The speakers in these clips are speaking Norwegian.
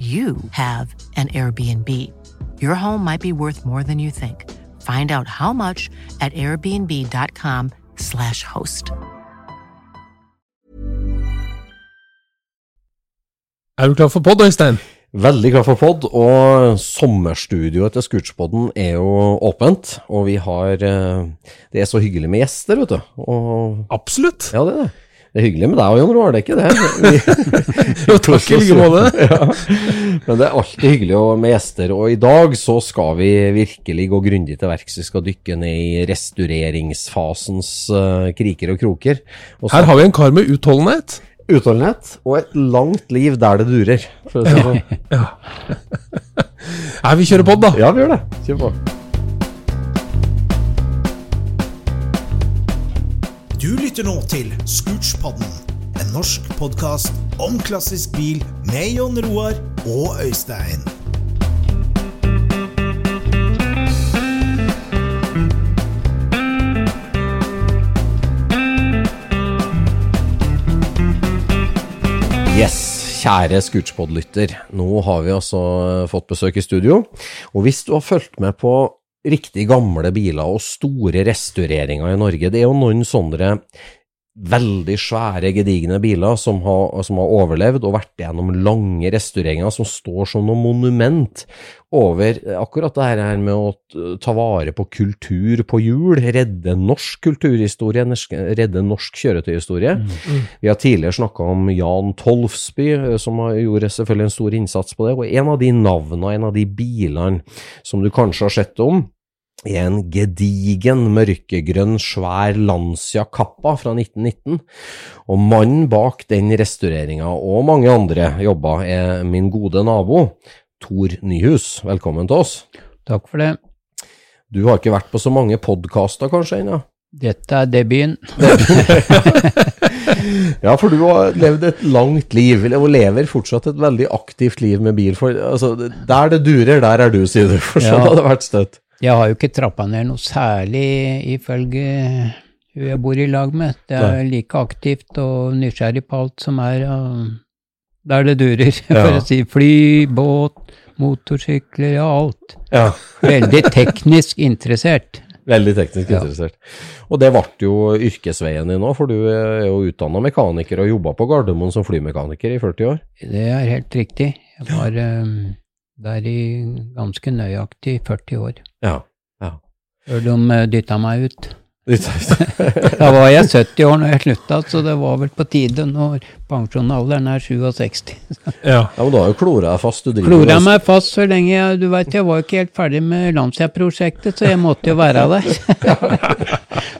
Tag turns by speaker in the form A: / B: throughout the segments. A: you have an Airbnb. Your home might be worth more than you think. Find out how much at airbnb.com/slash host.
B: Er du klar for podd, Øystein?
C: Veldig klar for pod, og sommerstudioet til Scootspodden er jo åpent. Og vi har eh, Det er så hyggelig med gjester, vet du. Og
B: Absolutt.
C: ja, det er det. Det er hyggelig med deg og Jon Roar, det er ikke det? Vi,
B: Jo, takk i like måte.
C: Ja. Men det er alltid hyggelig å- med gjester, og i dag så skal vi virkelig gå grundig til verks. Vi skal dykke ned i restaureringsfasens eh, kriker og kroker. Og
B: Her har vi en kar med utholdenhet.
C: utholdenhet og et langt liv der det durer. For å si det sånn.
B: Nei, vi kjører podd, da.
C: Ja, vi gjør det. Kjør på.
D: Du lytter nå til Scootspodden, en norsk podkast om klassisk bil med Jon Roar og Øystein.
C: Yes, kjære Scootspod-lytter. Nå har vi altså fått besøk i studio. Og hvis du har fulgt med på riktig gamle biler og store restaureringer i Norge, det er jo noen sånne veldig svære, gedigne biler som har, som har overlevd og vært gjennom lange restaureringer som står som noe monument over akkurat det her med å ta vare på kultur på hjul, redde norsk kulturhistorie, norsk- redde norsk kjøretøyhistorie. Vi har tidligere snakka om Jan Tolfsby, eh, som har- gjorde selvfølgelig en stor innsats på det, og en av de navnene, en av de bilene som du kanskje har sett om, i en gedigen, mørkegrønn, svær Lancia-kappa fra 1919. Og mannen bak den restaureringa, og mange andre jobber, er min gode nabo, Tor Nyhus. Velkommen til oss.
E: Takk for det.
C: Du har ikke vært på så mange podkaster kanskje ennå?
E: Dette er debuten.
C: Ja, for du har levd et langt liv, og lever fortsatt et veldig aktivt liv med bil. For, altså, der det durer, der er du, sier du. For sånn
E: Ja.
C: hadde det vært støtt.
E: Jeg har jo ikke trappa ned noe særlig ifølge hun jeg bor i lag med. Det er like aktivt og nysgjerrig på alt som er ja, der det durer, for
C: Ja.
E: å si. Fly, båt, motorsykler, ja, alt.
C: Ja.
E: Veldig teknisk interessert.
C: Veldig teknisk
E: Ja.
C: interessert. Og det ble jo yrkesveien din nå, for du er jo utdanna mekaniker og jobba på Gardermoen som flymekaniker i 40 år.
E: Det er helt riktig. Jeg var eh, der i ganske nøyaktig 40 år.
C: Ja. ja.
E: Før de dytta meg ut.
C: Litt-
E: Da var jeg 70 år når jeg slutta, så det var vel på tide når pensjonalderen er 67.
B: Ja.
C: Ja, men du har jo klora deg fast. Du driver
E: Klora
C: ganske-
E: meg fast så lenge jeg Du veit, jeg var ikke helt ferdig med Lancia-prosjektet, så jeg måtte jo være der.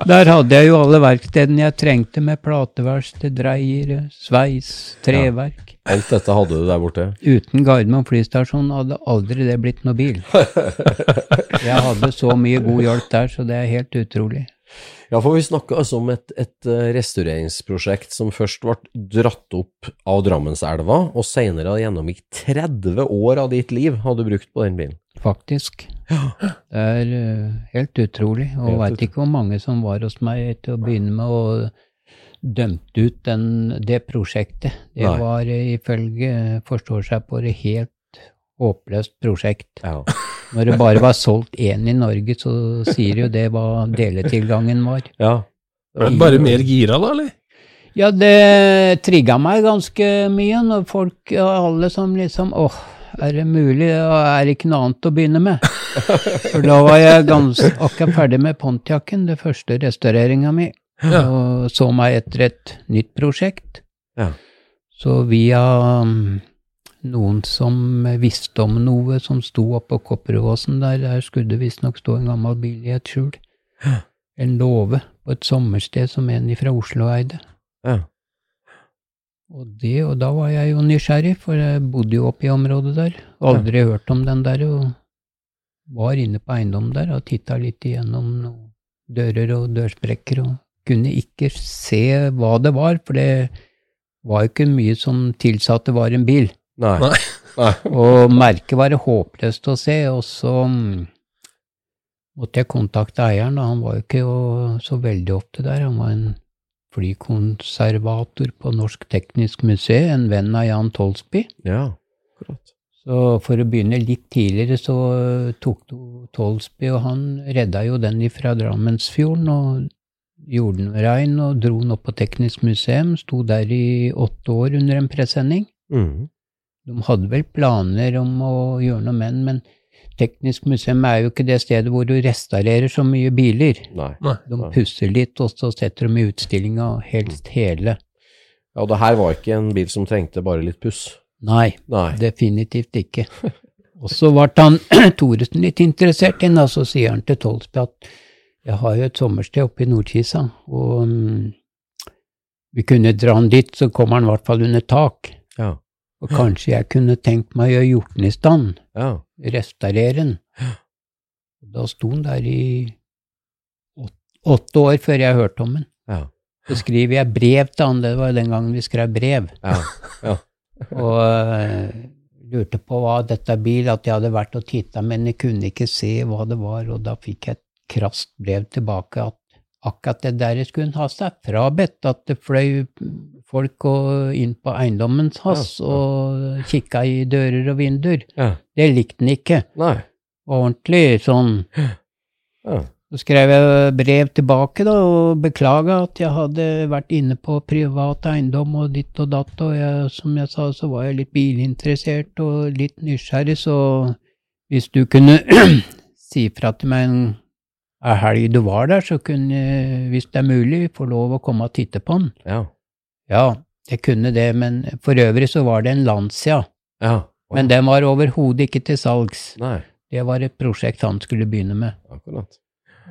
E: Der hadde jeg jo alle verkstedene jeg trengte, med plateverksted, dreier, sveis, treverk.
C: Alt dette hadde du der borte.
E: Uten Gardermoen flystasjon hadde aldri det blitt noe bil. Jeg hadde så mye god hjelp der, så det er helt utrolig.
C: Ja, for vi snakka altså om et, et eh, restaureringsprosjekt som først ble dratt opp av Drammenselva, og senere gjennomgikk 30 år av ditt liv hadde du brukt på den bilen.
E: faktisk. Det er eh, helt utrolig. Og
C: Helt
E: veit
C: utrolig.
E: ikke hvor mange som var hos meg til å begynne med og dømte ut den, det prosjektet. Det
C: Nei.
E: var eh, ifølge forstår seg på det helt håpløst prosjekt.
C: Ja.
E: Når det bare var solgt én i Norge, så sier jo det hva deletilgangen var.
C: ja.
B: Var det bare mer gira da, eller?
E: Ja, det trigga meg ganske mye når folk og alle som liksom Åh, er det mulig? Og er det ikke noe annet å begynne med? For da var jeg gans, akkurat ferdig med Pontiacen, det første restaureringa mi, og så meg etter et nytt prosjekt.
C: Ja.
E: Så via um, noen som visste om noe, som sto oppå Kopperåsen der, der skulle det visstnok stå en gammel bil i et skjul. En låve på et sommersted som en fra Oslo eide.
C: ja.
E: Og, det, og da var jeg jo nysgjerrig, for jeg bodde jo oppe i området der. Aldri hørt om den der, og var inne på eiendommen der og titta litt igjennom noen dører og dørsprekker, og kunne ikke se hva det var, for det var jo ikke mye som tilsa at det var en bil.
C: Nei.
B: Nei.
C: Nei.
E: Og merket var det håpløst å se, og så mm, måtte jeg kontakte eieren, da. Han var jo ikke å- så veldig ofte der. Han var en flykonservator på Norsk Teknisk Museum, en venn av Jan Tolsby.
C: Ja, akkurat.
E: Så for å begynne litt tidligere, så eh, tok to- Tolsby, og han redda jo den fra Drammensfjorden, og gjorde den rein, og dro den opp på Teknisk museum. Sto der i åtte år under en presenning.
C: Mhm.
E: De hadde vel planer om å gjøre noe med den, men Teknisk museum er jo ikke det stedet hvor du restaurerer så mye biler.
C: Nei.
B: Nei.
E: De
C: Nei.
E: pusser litt, og så setter de i utstillinga
C: Mm.
E: helst hele.
C: Ja, det her var ikke en bil som trengte bare litt puss.
E: Nei,
C: Nei.
E: definitivt ikke. Og så ble han Thoresen litt interessert inn, og så sier han til Tolsby at jeg har jo et sommersted oppe i Nordkisa, og mm, vi kunne dra han dit, så kommer han i hvert fall under tak.
C: Ja.
E: Og kanskje jeg kunne tenkt meg å gjort den i stand.
C: Ja.
E: restaurere den. Og Da sto den der i åt- åtte år før jeg hørte om den.
C: Ja.
E: Så skriver jeg brev til han, det var jo den gangen vi skrev brev,
C: Ja. ja.
E: og eh, lurte på hva dette er bil, at jeg hadde vært og titta, men jeg kunne ikke se hva det var, og da fikk jeg et krast brev tilbake at akkurat det der skulle han ha seg frabedt, at det fløy folk og inn på eiendommen hans
C: Ja, ja.
E: og kikka i dører og vinduer.
C: ja.
E: Det likte han ikke
C: Nei.
E: ordentlig sånn.
C: Ja.
E: Så skrev jeg brev tilbake da, og beklaga at jeg hadde vært inne på privat eiendom og ditt og datt, og jeg, som jeg sa, så var jeg litt bilinteressert og litt nysgjerrig, så hvis du kunne si fra til meg en ei helg du var der, så kunne, jeg, hvis det er mulig, få lov å komme og titte på den.
C: Ja.
E: Ja, jeg kunne det, men for øvrig så var det en Lancia,
C: Ja.
E: men den var overhodet ikke til salgs.
C: Nei.
E: Det var et prosjekt han skulle begynne med.
C: Akkurat.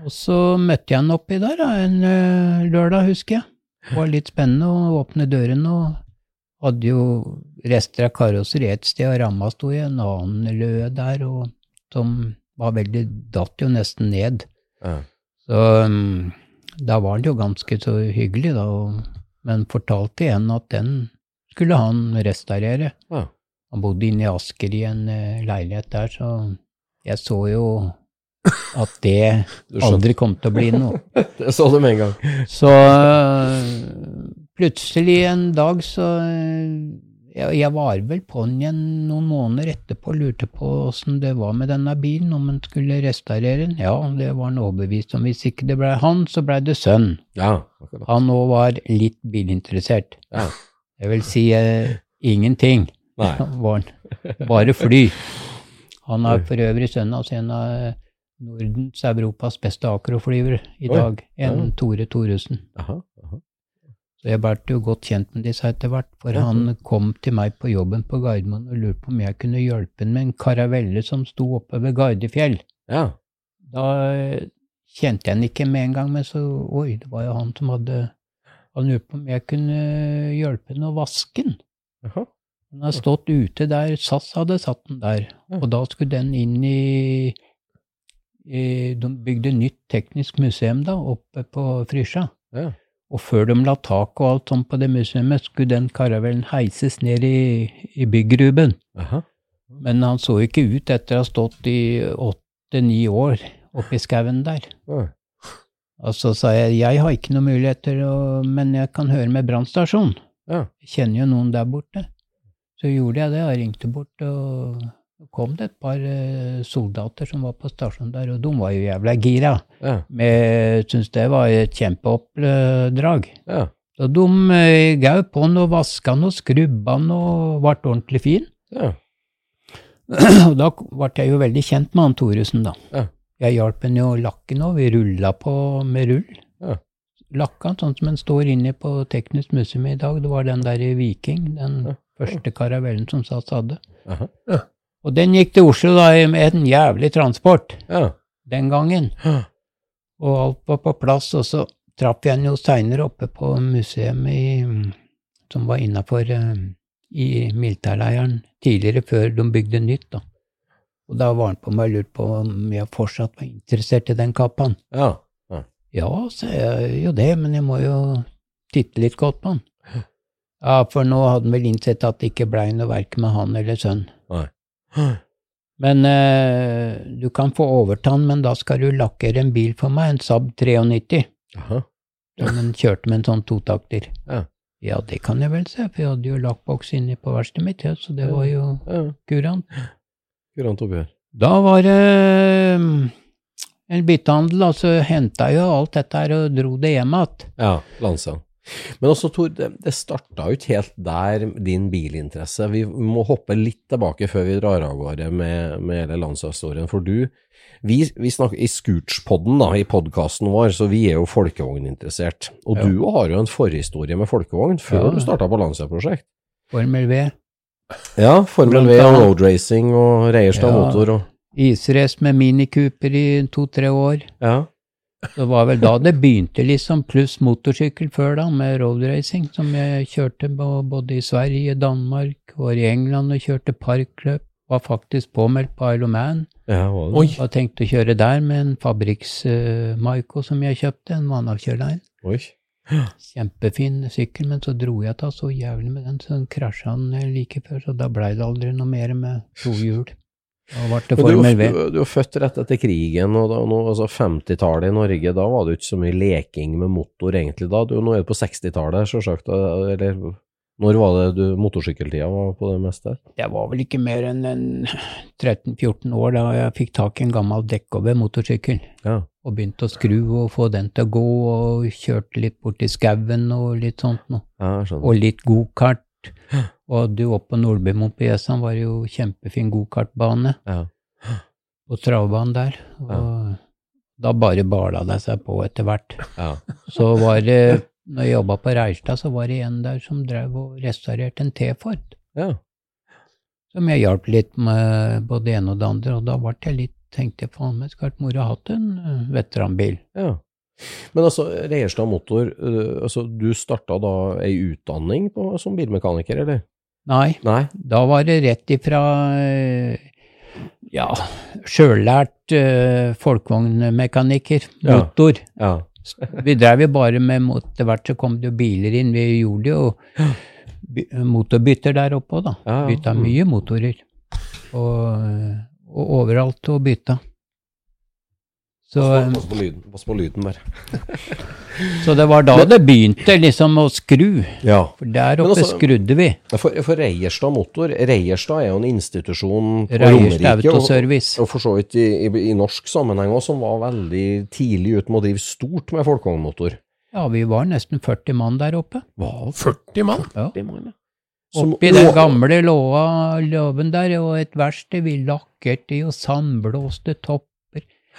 E: Og så møtte jeg han oppi der da, en ø, lørdag, husker jeg. Det var litt spennende å åpne døren, og hadde jo rester av karosseri et sted, og ramma sto i en annen løe der, og som var veldig Datt jo nesten ned.
C: Ja.
E: Så ø, da var han jo ganske så hyggelig, da, og, men fortalte igjen at den skulle han restaurere.
C: Ja.
E: Han bodde inne i Asker i en eh, leilighet der, så jeg så jo at det
C: Du skjønte.
E: aldri kom til å bli noe.
C: Det sa du med en gang.
E: Så eh, plutselig en dag så eh, jeg, jeg var vel på den igjen noen måneder etterpå og lurte på åssen det var med denne bilen, om en skulle restaurere den. Ja, det var han overbevist om. Hvis ikke det blei han, så blei det sønn.
C: Ja. Akkurat.
E: Han òg var litt bilinteressert.
C: Ja.
E: Jeg vil si eh, ingenting.
C: Nei.
E: Var han. Bare fly. Han er for øvrig sønn av en av Nordens Europas beste akroflyver i
C: Oi.
E: dag, en
C: Ja.
E: Tore Thoresen.
C: Aha. Aha.
E: Så jeg ble jo godt kjent med disse etter hvert, for
C: Ja.
E: han kom til meg på jobben på Gardermoen og lurte på om jeg kunne hjelpe ham med en karavelle som sto oppe ved Gardefjell.
C: Ja.
E: Da eh, kjente jeg han ikke med en gang, men så Oi, det var jo han som hadde Han lurte på om jeg kunne eh, hjelpe ham å vaske den.
C: Aha.
E: Den har stått ute der SAS hadde satt den der,
C: Ja.
E: og da skulle den inn i, eh, De bygde nytt teknisk museum da, oppe på Frysja.
C: Ja.
E: Og før de la tak og alt sånt på det museet, skulle den karavellen heises ned i, i byggruben.
C: Aha.
E: Men han så ikke ut etter å ha stått i åtte-ni år oppe i skauen der.
C: Ja.
E: Og så sa jeg jeg har ikke noen muligheter, å- men jeg kan høre med brannstasjonen.
C: Ja.
E: Jeg kjenner jo noen der borte. Så gjorde jeg det, jeg ringte bort, og så kom det et par eh, soldater som var på stasjonen der, og de var jo jævla gira.
C: Ja.
E: Jeg syntes det var et kjempeoppdrag.
C: Ja.
E: Så de eh, gav på han og vaska han og skrubba han og ble ordentlig fin.
C: Ja.
E: Og da ble jeg jo veldig kjent med han Thoresen, da.
C: Ja.
E: Jeg hjalp han jo å lakke nå. Vi rulla på med rull.
C: Ja.
E: Lakka han sånn som han står inne på Teknisk museum i dag. Det var den der i Viking, den
C: Ja.
E: første karavellen som SAS hadde.
C: Aha.
E: Og den gikk til Oslo da i- med en jævlig transport
C: Ja.
E: den gangen.
C: Ja.
E: Og alt var på plass, og så traff jeg han jo seinere oppe på museet i, som var innafor eh, i militærleiren tidligere, før de bygde nytt. da. Og da var han på meg og lurte på om jeg fortsatt var interessert i den kappaen.
C: Ja.
E: Ja, sa jeg jo det, men jeg må jo titte litt godt på han. Ja, for nå hadde han vel innsett at det ikke blei noe verk med han eller sønn. Men eh, du kan få overta den, men da skal du lakkere en bil for meg, en Saab 93,
C: Aha.
E: som en kjørte med en sånn totakter.
C: Ja.
E: Ja, det kan jeg vel se, for jeg hadde jo lakkboks inne på verkstedet mitt, ja, så det var jo
C: Ja.
E: kurant.
C: Kurant oppgjør.
E: Da var det eh, en byttehandel, og så henta jeg jo alt dette her og dro det hjem igjen.
C: Ja, Landsand. Men også, Tor, det, det starta jo ikke helt der, din bilinteresse. Vi må hoppe litt tilbake før vi drar av gårde med, med hele landshistorien. For du, vi, vi snakker i Scootspodden, da, i podkasten vår, så vi er jo folkevogninteressert. Og
E: Ja.
C: du har jo en forhistorie med folkevogn før
E: Ja.
C: du starta på Lancia-prosjekt.
E: Formel V.
C: Ja, Formel
E: Blant
C: V og
E: annet.
C: roadracing og Reierstad
E: Ja.
C: motor og
E: Israce med minikuper i to-tre år.
C: Ja.
E: Det var vel da det begynte, liksom, pluss motorsykkel før, da, med roadracing, som jeg kjørte på både i Sverige, Danmark, var i England og kjørte parkløp. Var faktisk påmeldt på Isle of Man.
C: ja var det?
B: Oi.
E: Var tenkt å kjøre der med en fabriks-Maiko som jeg kjøpte, en vannavkjørt en.
C: Oi.
E: Kjempefin sykkel, men så dro jeg ta så jævlig med den, så den krasja han eh, like før, så da blei det aldri noe mer med to hjul. Da ble det
C: Men Du,
E: Formel
C: du,
E: V.
C: du er født rett etter krigen, og da, nå, altså 50-tallet i Norge, da var det jo ikke så mye leking med motor egentlig da. Du, nå er det på 60-tallet, sjølsagt. Eller når var det du, motorsykkeltida var på det meste?
E: Jeg var vel ikke mer enn en 13-14 år da jeg fikk tak i en gammel dekkover-motorsykkel
C: Ja.
E: og begynte å skru og få den til å gå, og kjørte litt bort i skauen og litt sånt noe.
C: ja jeg skjønner.
E: Og litt gokart. Og du oppe på Nordbymoen på Jessheim var det jo kjempefin gokartbane
C: Ja.
E: og travbanen der. Og da bare bala det seg på etter hvert.
C: Ja.
E: Så var det, når jeg jobba på Reirstad, så var det en der som drev og restaurerte en T-Ford
C: ja.
E: som jeg hjalp litt med både det ene og det andre, og da ble jeg litt, tenkte jeg faen meg, skulle vært moro å hatt en eh, veteranbil.
C: ja. Men altså, Reierstad Motor, øh, altså, du starta da ei utdanning på, som bilmekaniker, eller?
E: Nei,
C: Nei?
E: da var det rett ifra eh, ja, sjøllært eh, folkevognmekaniker,
C: Ja.
E: motor.
C: Ja.
E: Vi drev jo bare med mot- Etter hvert så kom det jo biler inn, vi gjorde jo by- motorbytter der oppe òg, da.
C: Ja, ja.
E: Bytta
C: Mm.
E: mye motorer. Og, og overalt og bytta. Så eh,
C: Pass på lyden, pass på lyden der.
E: Så det var da det begynte liksom å skru.
C: Ja.
E: For der
C: Men
E: oppe
C: altså-
E: skrudde vi.
C: For, for Reierstad Motor, Reierstad er jo en institusjon på
E: Reierstad
C: Romerike, og-
E: Autoservice.
C: Og for så vidt i, i, i norsk sammenheng også, som var veldig tidlig ute med å drive stort med folkevognmotor.
E: Ja, vi var nesten 40 mann der oppe.
C: Hva?
B: 40 mann?
E: Ja.
C: Som-
E: Oppi den
C: Lå-
E: gamle låa låven der, og et verksted. Vi lakkerte jo sandblåste topper.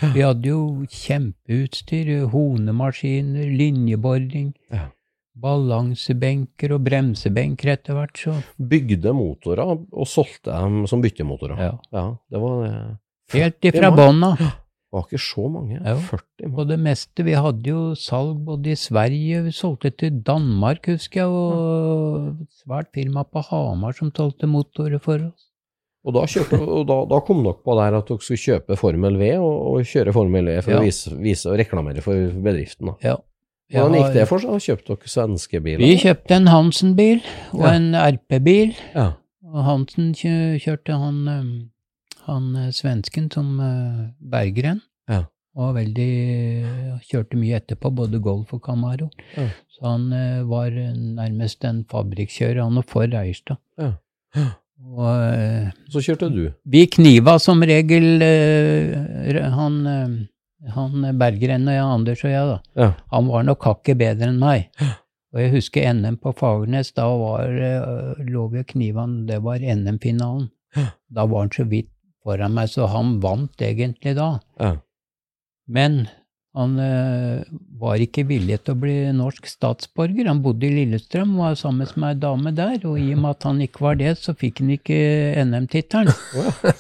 E: Vi hadde jo kjempeutstyr. Honemaskiner, linjeboring,
C: Ja.
E: balansebenker og bremsebenker etter hvert, så
C: Bygde motorer og solgte dem som byttemotorer.
E: Ja.
C: det var det.
E: Helt
C: 40
E: ifra
C: mann.
E: bånn av.
C: var ikke så mange.
E: Ja.
C: 40
E: på
C: mann.
E: det meste. Vi hadde jo salg både i Sverige, vi solgte til Danmark, husker jeg, og et svært firma på Hamar som solgte motorer for oss.
C: Og da, kjørte, og da, da kom dere på der at dere skulle kjøpe Formel V og, og kjøre Formel V for
E: Ja.
C: å vise, vise og reklamere for bedriften. Da.
E: Ja. Jeg
C: Hvordan
E: har-
C: gikk det for seg? Kjøpte dere svenske biler?
E: Vi kjøpte en Hansen-bil og
C: Ja.
E: en RP-bil.
C: Ja.
E: Og Hansen kjø- kjørte han, øhm, han øh, svensken som øh, Berggren.
C: Ja.
E: Og var veldig, øh, kjørte mye etterpå, både Golf og Camaro.
C: Ja.
E: Så han øh, var øh, nærmest en fabrikkjører. Han var for Eierstad.
C: Ja.
E: Og øh,
C: Så kjørte du.
E: vi kniva som regel, øh, r- han, øh, han Berggren og jeg, Anders og jeg, da.
C: Ja.
E: Han var nok hakket bedre enn meg. Og jeg husker NM på Fagernes. Da var, eh, lå vi og kniva, det var NM-finalen. Da var han så vidt foran meg, så han vant egentlig da.
C: Ja.
E: Men han eh, var ikke villig til å bli norsk statsborger. Han bodde i Lillestrøm og var sammen med ei dame der. Og i og med at han ikke var det, så fikk han ikke NM-tittelen.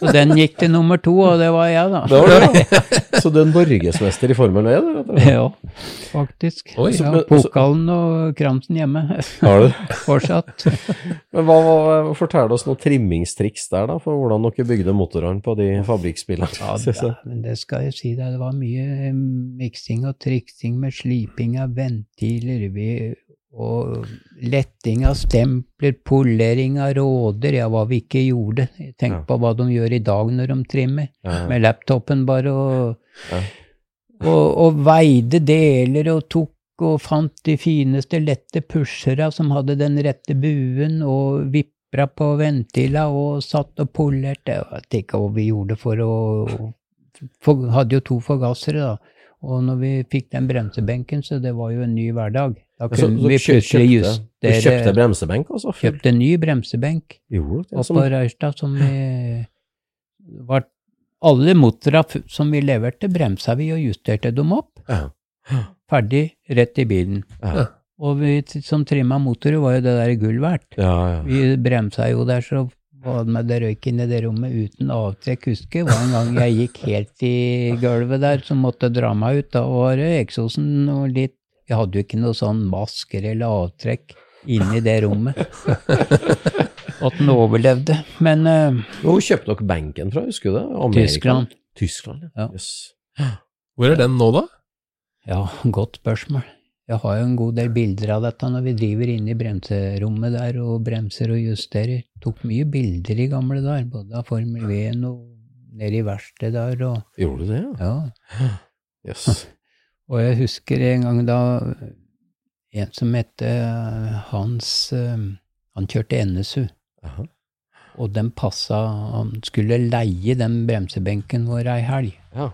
E: Så den gikk til nummer to, og det var jeg, da.
C: Det var det. Så du er norgesmester i Formel V? du, rett og slett?
E: Ja, faktisk.
C: Oi.
E: jeg
C: Men-
E: har pokalen og kramsen hjemme
C: Har du?
E: fortsatt.
C: Men hva, hva, Fortell oss noen trimmingstriks der, da, for hvordan dere bygde motorene på de fabrikksbilene.
E: Ja, da, men det skal jeg si deg, det var mye eh, miksing og triksing med sliping av ventiler vi, og letting av stempler, polering av råder, ja, hva vi ikke gjorde. Tenk
C: Ja.
E: på hva de gjør i dag når de trimmer.
C: Ja.
E: med laptopen bare og,
C: Ja.
E: og, og veide deler og tok og fant de fineste lette pushera som hadde den rette buen, og vipra på ventila og satt og polerte. Jeg vet ikke hva vi gjorde for å for, Hadde jo to forgassere, da. Og når vi fikk den bremsebenken, så det var jo en ny hverdag. Da
C: Altså, Så, så
E: kunne vi
C: dere kjø-
E: plutselig
C: kjøpte, du
E: justere
C: kjøpte bremsebenk, altså?
E: kjøpte en ny bremsebenk
C: Gjorde dere det?
E: oppe på Røyrstad som vi var Alle motora f- som vi leverte, bremsa vi og justerte dem opp.
C: Ja.
E: Ferdig, rett i bilen.
C: Ja.
E: Og vi t- som trimma motorer, var jo det der gull verdt.
C: Ja, ja.
E: Vi bremsa jo der, så var det med det røyk inn i det rommet uten avtrekk, husker jeg. Det var en gang jeg gikk helt i gulvet der, som måtte dra meg ut. Da var det eksosen og litt Jeg hadde jo ikke noe sånn masker eller avtrekk inni det rommet. At den overlevde. Men eh,
C: Hvor kjøpte dere benken fra, husker du det?
E: Tyskland.
C: Tyskland,
E: Ja.
C: Jøss.
B: Hvor er den nå, da?
E: Ja, godt spørsmål. Jeg har jo en god del bilder av dette når vi driver inne i bremserommet der og bremser og justerer. Tok mye bilder i gamle dager, både av Formel V-en og nede i verkstedet der. Og,
C: Gjorde du det, ja?
E: ja.
C: Jøss.
E: og jeg husker en gang da en som het eh, Hans eh, Han kjørte NSU.
C: Jaha.
E: Og den passa Han skulle leie den bremsebenken vår ei helg.
C: Ja.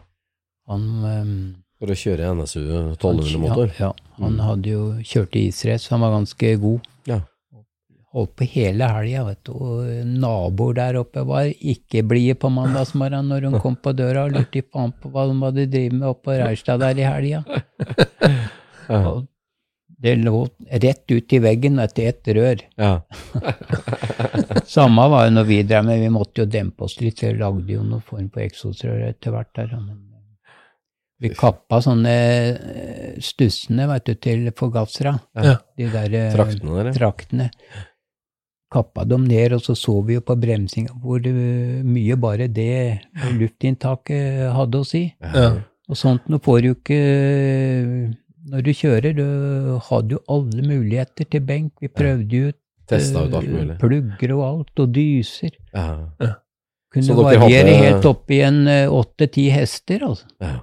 E: Han eh,
C: For å kjøre NSU
E: Han-
C: 1200-motor?
E: Ja, ja. Han
C: Mm.
E: hadde jo kjørt i israce, han var ganske god.
C: Ja.
E: Holdt på hele helga, vet du. Og naboer der oppe var ikke blide på mandagsmorgenen når hun kom på døra og lurte faen på hva de hadde drevet med oppe på Reirstad der i helga.
C: Ja.
E: Og Det lå rett ut i veggen etter ett rør.
C: ja.
E: Samme var jo når vi drev med, vi måtte jo dempe oss litt. Vi lagde jo noen form for eksosrør etter hvert der. ja, Men eh, vi kappa sånne eh, stussene, veit du, til forgassera.
C: Ja.
E: De der eh,
C: Traktene der, ja.
E: traktene. Kappa dem ned, og så så vi jo på bremsinga hvor eh, mye bare det luftinntaket hadde å si.
B: Ja.
E: Og sånt nå får du ikke når du kjører. Du hadde jo alle muligheter til benk. Vi prøvde jo ut
C: Testa ut alt
E: eh,
C: mulig.
E: Plugger og alt, og dyser.
C: Ja. Så
E: Kunne
C: dere
E: variere
C: hadde-
E: helt opp i en eh, åtte-ti hester, altså.
C: ja.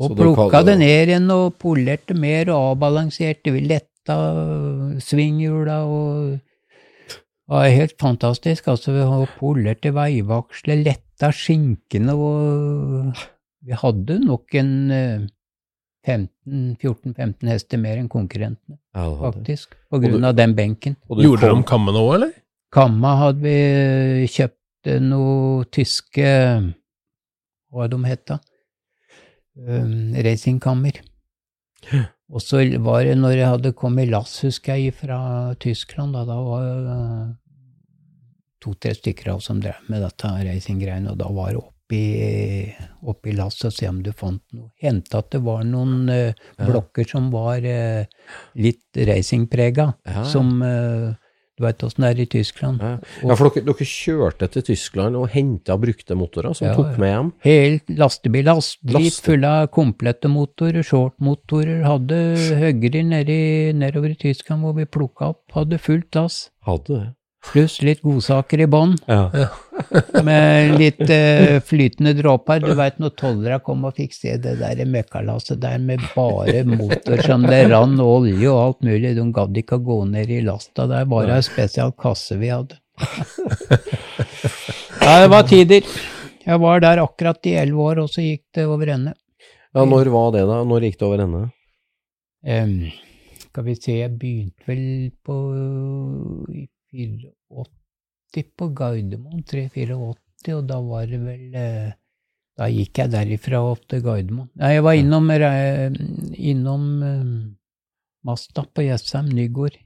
E: Og
C: Så dere
E: plukka
C: hadde-
E: det ned igjen og polerte mer og avbalanserte. Vi letta øh, svinghjula og Det var helt fantastisk. Altså, vi har polerte veivaksler, letta skinkene og Vi hadde nok en øh, 15 14-15 hester mer enn konkurrentene,
C: ja det var det.
E: faktisk, på
C: du-
E: grunn av den benken.
C: Og du
B: Gjorde
C: kom-
B: de kammene òg, eller?
E: Kamma hadde vi kjøpt eh, noe tyske Hva de het da? Um, Racingkammer. Og så var det når jeg hadde kommet i lass, husker jeg, fra Tyskland, da, da var det to-tre stykker av oss som drev med dette racinggreiene, og da var det opp i, opp i lass og se om du fant noe. Hendte at det var noen eh,
C: Ja.
E: blokker som var eh, litt racingprega,
C: Ja, ja.
E: som eh, Du veit åssen det er i Tyskland.
C: Ja, ja for dere, dere kjørte til Tyskland og henta brukte motorer som
E: Ja,
C: tok
E: ja.
C: med hjem?
E: Helt lastebil, lastebil
C: Laste-
E: full av komplette motorer, shortmotorer, hadde høyre nedi, nedover i Tyskland hvor vi plukka opp, hadde fullt dass.
C: Hadde det.
E: Pluss litt godsaker i bånn,
C: Ja.
E: med litt eh, flytende dråper. Du veit når tollere kom og fikk se det der møkkalasset der med bare motor som det rann olje og alt mulig, de gadd ikke å gå ned i lasta der, bare ei spesial kasse vi hadde. Ja, det var tider. Jeg var der akkurat i elleve år, og så gikk det over ende.
C: ja, når var det da? Når gikk det over ende?
E: Ehm, skal vi se, jeg begynte vel på i 84 på Gardermoen, 3-84, og da var det vel eh, Da gikk jeg derifra opp til Gardermoen. Nei, jeg var innom, eh, innom eh, Masta på Jessheim Nygård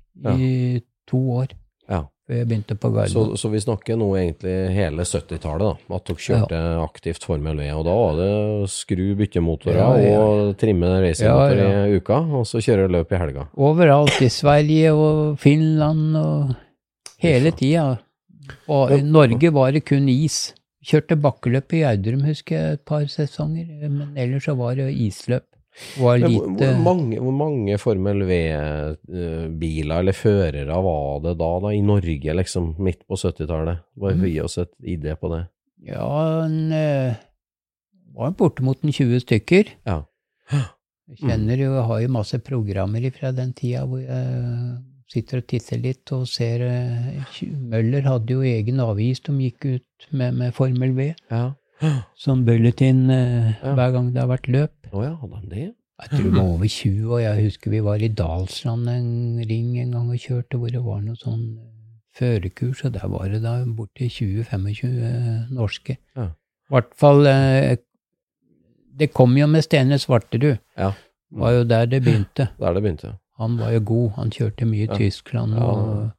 E: i to år
C: Ja.
E: før jeg begynte på
C: Så,
E: Gardermoen.
C: så vi snakker nå egentlig hele 70-tallet, da. At dere kjørte aktivt Formel V. Og da var det skru byttemotorer
E: Ja, ja, ja.
C: og trimme racingmotor
E: Ja, ja.
C: i uka, og så kjøre løp i helga.
E: Overalt i Sverige og Finland og
C: Fy
E: hele
C: faen.
E: tida. Og i Norge var det kun is. Kjørte bakkeløp i Gjerdrum, husker jeg, et par sesonger. Men ellers så var det isløp. Var
C: Men hvor,
E: lite
C: hvor, mange, hvor mange Formel V-biler eller førere var det da, da i Norge, liksom, midt på 70-tallet? Bare for å gi oss et idé på det.
E: Ja, en, eh, var bortimot en 20 stykker.
C: Ja.
E: Jeg kjenner jo, jeg har jo masse programmer fra den tida hvor jeg sitter og titter litt og ser eh, Møller hadde jo egen avis de gikk ut med, med Formel V.
C: ja.
E: som bulletin eh,
C: Ja.
E: hver gang det har vært løp.
C: Å ja, hadde han det?
E: Jeg tror det var over 20, og jeg husker vi var i Dalsland en ring en gang og kjørte, hvor det var noe sånn førerkurs, og der var det da borti 20-25 eh, norske.
C: Ja.
E: I hvert fall eh, Det kom jo med Stene Svarterud.
C: Ja.
E: Var jo der det begynte.
C: Der det begynte.
E: Han var jo god. Han kjørte mye i
C: Ja.
E: Tyskland.
C: Ja.
E: og...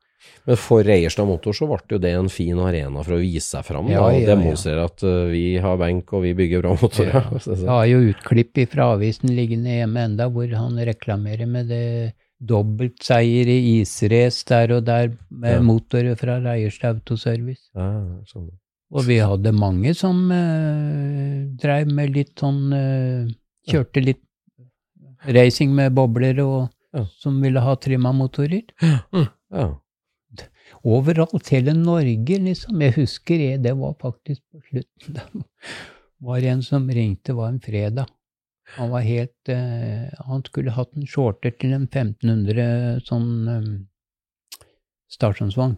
C: Men for Reierstad Motor så ble jo det en fin arena for å vise seg fram.
E: Ja,
C: da, og
E: ja, ja.
C: demonstrere at eh, vi har benk og vi bygger bra motorer.
E: Ja.
C: Så- så-
E: Jeg har jo utklipp fra avisen liggende hjemme enda, hvor han reklamerer med det dobbeltseier i israce der og der med
C: Ja.
E: motorer fra Reierstad Autoservice.
C: Ja, sånn.
E: Og vi hadde mange som eh, dreiv med litt sånn eh, Kjørte litt racing med bobler og
C: Ja.
E: som ville ha trimma motorer.
C: ja.
E: Overalt, hele Norge, liksom. Jeg husker jeg, det var faktisk på slutten. Det var en som ringte, det var en fredag. Han var helt eh, Han skulle hatt en shorter til en 1500 sånn um, stasjonsvogn.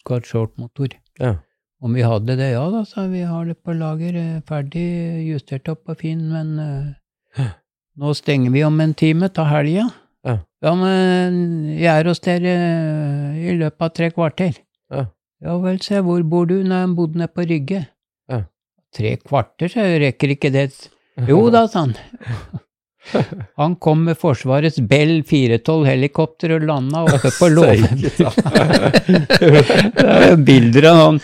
E: Skulle hatt shortmotor.
C: ja.
E: Om vi hadde det, ja da, sa jeg, vi har det på lager, eh, ferdig justert opp og fin, men eh, nå stenger vi om en time, ta helga.
C: Ja.
E: Ja, men jeg er hos dere eh, i løpet av tre kvarter.
C: Ja.
E: Ja vel, se, hvor bor du? Nei, jeg bodde nede på Rygge.
C: Ja.
E: Tre kvarter, så rekker ikke det. Jo da, sa han. Han kom med Forsvarets Bell 412-helikopter og landa oppe på låven. Det er Bilder av han.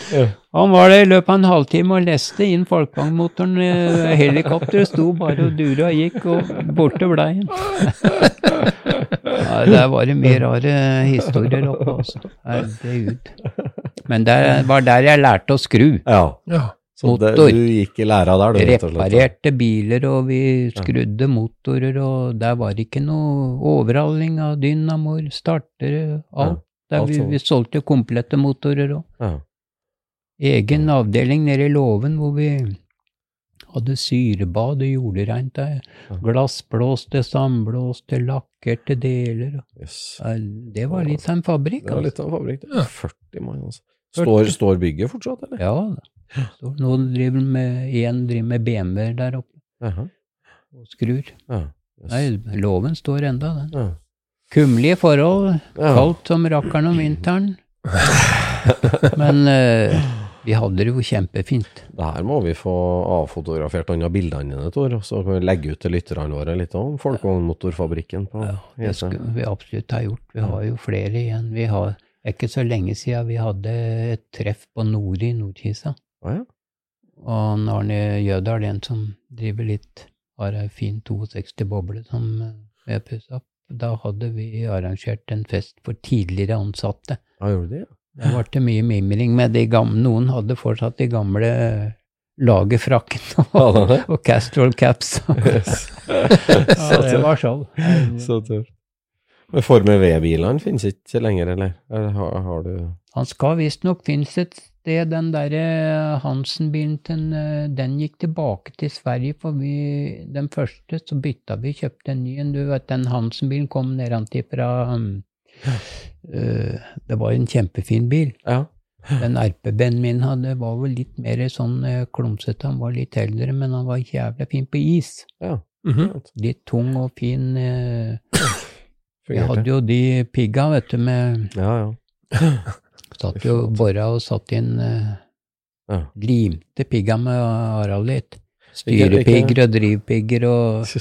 E: Han var der i løpet av en halvtime og leste inn folkevognmotoren. eh, Helikopteret sto bare og dura og gikk, og borte blei han. Ja, der var det mye rare historier oppe, altså. Herregud. Men det var der jeg lærte å skru.
C: ja.
B: Ja.
C: Så det,
E: Motor.
C: du gikk i læra der, du, rett og slett.
E: Reparerte biler, og vi skrudde motorer, og der var det ikke noe overhaling av dynamoer, startere, alt.
C: Ja,
E: Der
C: alt
E: vi,
C: sånt.
E: vi solgte komplette motorer òg.
C: Ja.
E: Egen avdeling nede i låven hvor vi hadde syrebad og jordreint der.
C: Ja.
E: Glassblåste, sandblåste, lakkerte deler.
C: Yes.
E: Ja, Det var litt av en fabrikk.
C: Det var
E: altså.
C: litt av en fabrikk, det. 40 mann, altså.
E: 40.
C: Står, står bygget fortsatt, eller?
E: altså. Ja da. Så nå driver han med én driver med BMW-er der oppe
C: Jaha.
E: og skrur.
C: Ja. Yes.
E: Nei, låven står enda, den.
C: Ja.
E: Kummerlige forhold.
C: Ja.
E: Kaldt som rakkeren om vinteren. Men eh, vi hadde det jo kjempefint.
C: Det her må vi få avfotografert noen av bildene dine, Tor, og så kan vi legge ut til lytterne våre litt om Folkevognmotorfabrikken på
E: Det
C: Jessheim.
E: skulle vi absolutt ha gjort. Vi har jo flere igjen. Vi har det er ikke så lenge siden vi hadde et treff på Nord i Nordkisa.
C: Å ja.
E: Og han Arne Jødal, en som driver litt, har ei fin 62 boble som eh, vi har pussa opp. Da hadde vi arrangert en fest for tidligere ansatte.
C: Ja, gjorde du det?
E: Det ble det mye mimring med de gamle. Noen hadde fortsatt de gamle eh, lagerfrakkene og,
C: Hadde det?
E: og Castrol caps. Ja, det var show.
C: Så tøft. Men Formel V-bilene finnes ikke lenger, eller? eller har, har du
E: Han skal visstnok finnes et sted, den derre eh, Hansen-bilen til en, eh, den gikk tilbake til Sverige, for vi, den første så bytta vi, kjøpte en ny en. Du vet, den Hansen-bilen kom nedantil fra um, eh, Det var en kjempefin bil.
C: Ja.
E: Den RPB-en min hadde, var vel litt mer sånn eh, klumsete, han var litt eldre, men han var jævla fin på is.
C: ja.
B: Mhm.
E: Litt tung og fin. eh, Vi
C: Fungerte.
E: hadde jo de pigga, vet du, med
C: Ja, ja.
E: Satt jo bora og satt inn eh,
C: ja.
E: Limte pigga med aralitt.
C: Ikke- ikke-
E: Styrepigger og drivpigger og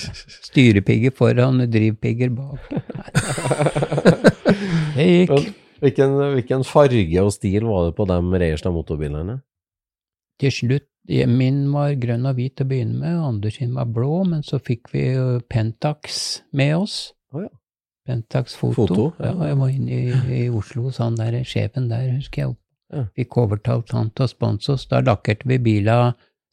E: Styrepigger foran og drivpigger bak. Det gikk.
C: Men Hvilken, hvilken farge og stil var det på de Reiersen motorbilene?
E: Til slutt ja, Min var grønn og hvit til å begynne med, og Anders sin var blå, men så fikk vi jo Pentax med oss.
C: Å ja.
E: Pentax Foto.
C: Foto, ja.
E: ja. jeg var inne i, i Oslo hos han der sjefen der, husker jeg.
C: Ja.
E: Fikk overtalt han til å sponse oss. Da lakkerte vi bila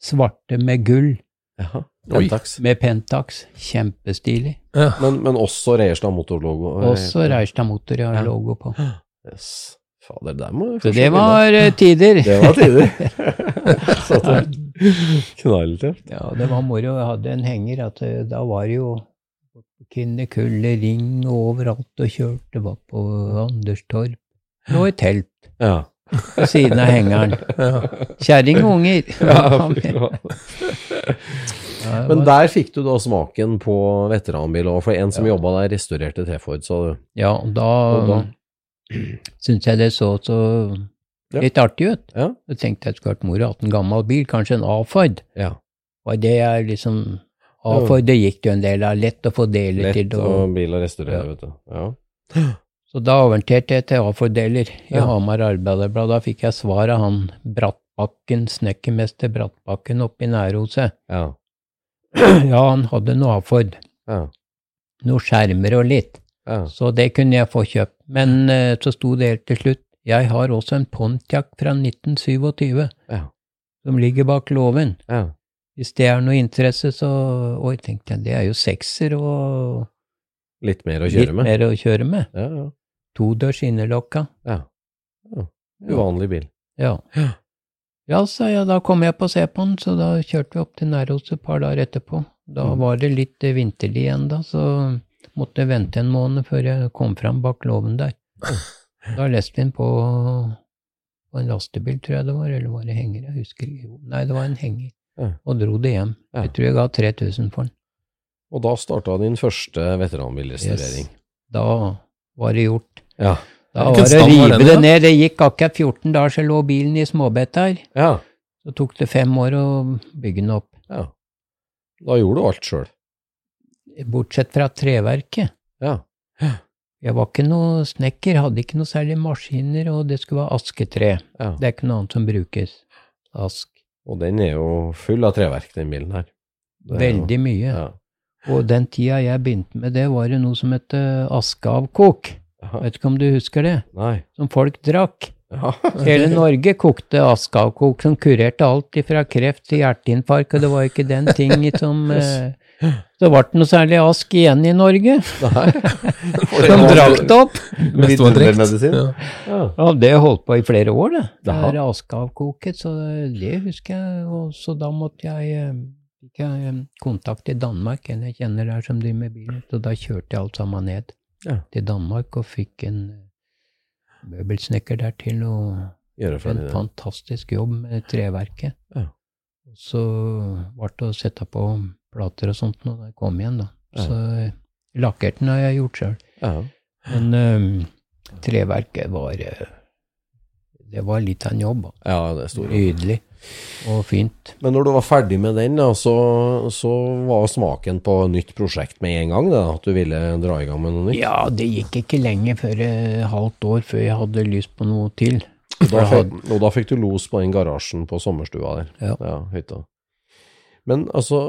E: svarte med gull.
C: Ja,
B: Oi.
C: Pentax.
E: Med Pentax. Kjempestilig.
B: Ja.
C: Men, men også Reiersen motorlogo.
E: Også Reistad Motor jeg
C: Ja.
E: har logo på.
C: Yes. Fader, der må vi
E: Så
C: forstå
E: det var eh, tider.
C: Det var tider. Så tøft. Knalltøft.
E: Ja, det var moro. Jeg hadde en henger. At eh, da var det jo Kinderkulle, Ring og overalt og kjørte. Var på Anderstorp. Lå i telt
C: Ja.
E: ved siden av hengeren. Kjerring og unger.
C: Ja, fy faen.
E: Ja, det
C: Men
E: var-
C: der fikk du da smaken på veteranbil òg, for en som
E: Ja.
C: jobba der, restaurerte T-Ford, sa du.
E: ja, og
C: Og
E: da
C: da?
E: syntes jeg det så så
C: Ja.
E: litt artig ut.
C: Ja.
E: Jeg tenkte jeg skulle vært moro hatt en gammel bil, kanskje en A-Ford.
C: Ja.
E: var det jeg liksom av for. Det gikk det jo en del av. Lett å få deler
C: Lett
E: til.
C: å
E: Og,
C: bil å restaurere,
E: Ja.
C: vet du. Ja.
E: så da orienterte jeg til A-fordeler i
C: Ja.
E: Hamar Arbeiderblad. Da fikk jeg svar av han Brattbakken, snekkermester Brattbakken oppe i Nærhuset.
C: Ja.
E: ja, han hadde noe A-Ford.
C: Ja.
E: Noe skjermer og litt.
C: ja.
E: Så det kunne jeg få kjøpt. Men eh, så sto det helt til slutt. Jeg har også en Pontiac fra 1927
C: Ja.
E: som ligger bak låven.
C: ja.
E: Hvis det er noe interesse, så Oi, tenkte jeg, det er jo sekser og
C: Litt mer å kjøre
E: litt
C: med.
E: mer å kjøre med.
C: Ja, ja.
E: Todørs innerlokka.
C: ja. ja. Uvanlig bil.
E: Ja. Ja, sa jeg, da kom jeg på å se på den, så da kjørte vi opp til Nærhos et par dager etterpå. Da
C: Mm.
E: var det litt eh, vinterlig igjen, da, så måtte jeg vente en måned før jeg kom fram bak låven der. Da leste vi den på, på en lastebil, tror jeg det var, eller var det henger? Jeg husker ikke. Jo, Nei, det var en henger.
C: Ja.
E: Og dro det hjem.
C: Ja.
E: Jeg tror jeg ga 3000 for den.
C: Og da starta din første veteranbilrestaurering.
E: Da var det gjort.
C: Ja.
E: Da
B: Hvilken
E: var det å
B: stand var
E: rive
B: den i,
E: det
B: da?
E: ned. Det gikk akkurat 14 dager, så lå bilen i småbett der.
C: ja.
E: Så tok det fem år å bygge den opp.
C: Ja. Da gjorde du alt sjøl.
E: Bortsett fra treverket.
C: Ja.
E: Jeg var ikke noe snekker, hadde ikke noe særlig maskiner, og det skulle være asketre.
C: ja.
E: Det er ikke noe annet som brukes. Ask.
C: Og den er jo full av treverk, den bilen her. Det er jo-
E: Veldig mye.
C: Ja.
E: Og den tida jeg begynte med det, var det noe som het eh, askeavkok.
C: Jaha.
E: Vet ikke om du husker det?
C: Nei.
E: Som folk drakk.
C: Ja.
E: Hele Norge kokte askeavkok som kurerte alt fra kreft til hjerteinfarkt, og det var ikke den ting som eh, Så ble det noe særlig ask igjen i Norge.
C: Nei. For
E: Som
C: var-
E: drakk det opp.
B: Mest var drikt.
C: Vidundermedisin.
B: Ja.
C: Ja.
E: Ja, det holdt på i flere år, det. Det
C: Jaha.
E: her askeavkoket, så det husker jeg. Og så da måtte jeg eh, fikk jeg eh, kontakt i Danmark, en jeg kjenner der som driver med bil. Så da kjørte jeg alt sammen ned
C: Ja.
E: til Danmark og fikk en eh, møbelsnekker der til å
C: Gjøre ferdig
E: en
C: det.
E: fantastisk jobb med treverket.
C: Ja.
E: Og Så ble det å sette på plater og sånt når jeg kom hjem, da.
C: Ja.
E: Så eh, lakkerte den har jeg gjort sjøl.
C: Ja.
E: Men øhm, treverket var øh, Det var litt av en jobb. da.
C: ja, det er stor jobb.
E: Nydelig og fint.
C: Men når du var ferdig med den, da, så, så var smaken på nytt prosjekt med en gang? Da, at du ville dra i gang med noe nytt?
E: Ja, det gikk ikke lenge før eh, halvt år før jeg hadde lyst på noe til.
C: Da
E: For jeg
C: fikk, og da fikk du los på den garasjen på sommerstua der.
E: Ja.
C: hytta. Men altså,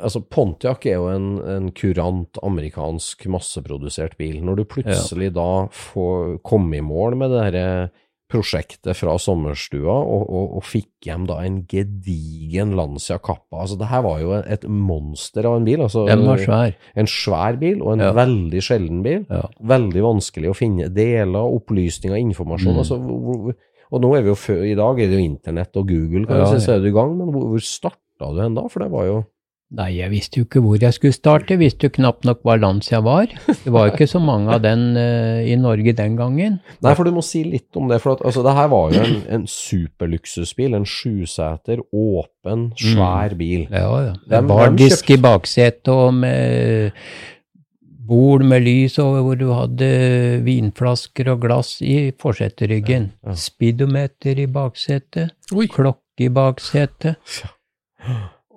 C: altså Pontiac er jo en, en kurant amerikansk masseprodusert bil. Når du plutselig da får komme i mål med det her prosjektet fra sommerstua, og, og, og fikk hjem da en gedigen Lancia Kappa altså Det her var jo et monster av en bil. altså
E: Den var svær.
C: en svær bil, og en
E: Ja.
C: veldig sjelden bil.
E: Ja.
C: Veldig vanskelig å finne deler, opplysninger, informasjon.
E: Mm.
C: Altså, hvor- hvor- og nå er vi jo før, i dag er det jo internett og Google, kan
E: Ja,
C: du si,
E: ja.
C: så er du i gang, men hvor, hvor starta du hen da? For det var jo
E: Nei, jeg visste jo ikke hvor jeg skulle starte. Jeg visste jo knapt nok hva Lancia var. Det var jo ikke så mange av den eh, i Norge den gangen.
C: Nei, for du må si litt om det, for at, altså, det her var jo en, en superluksusbil, en sjuseter, åpen, svær bil.
E: Mm. Ja, ja. Det
C: Hvem-
E: var
C: hvem
E: disk
C: kjøpte-
E: i baksetet og med bord med lys over hvor du hadde vinflasker og glass i forseteryggen.
C: Ja, ja.
E: Speedometer i baksetet.
B: Oi.
E: Klokke i baksetet.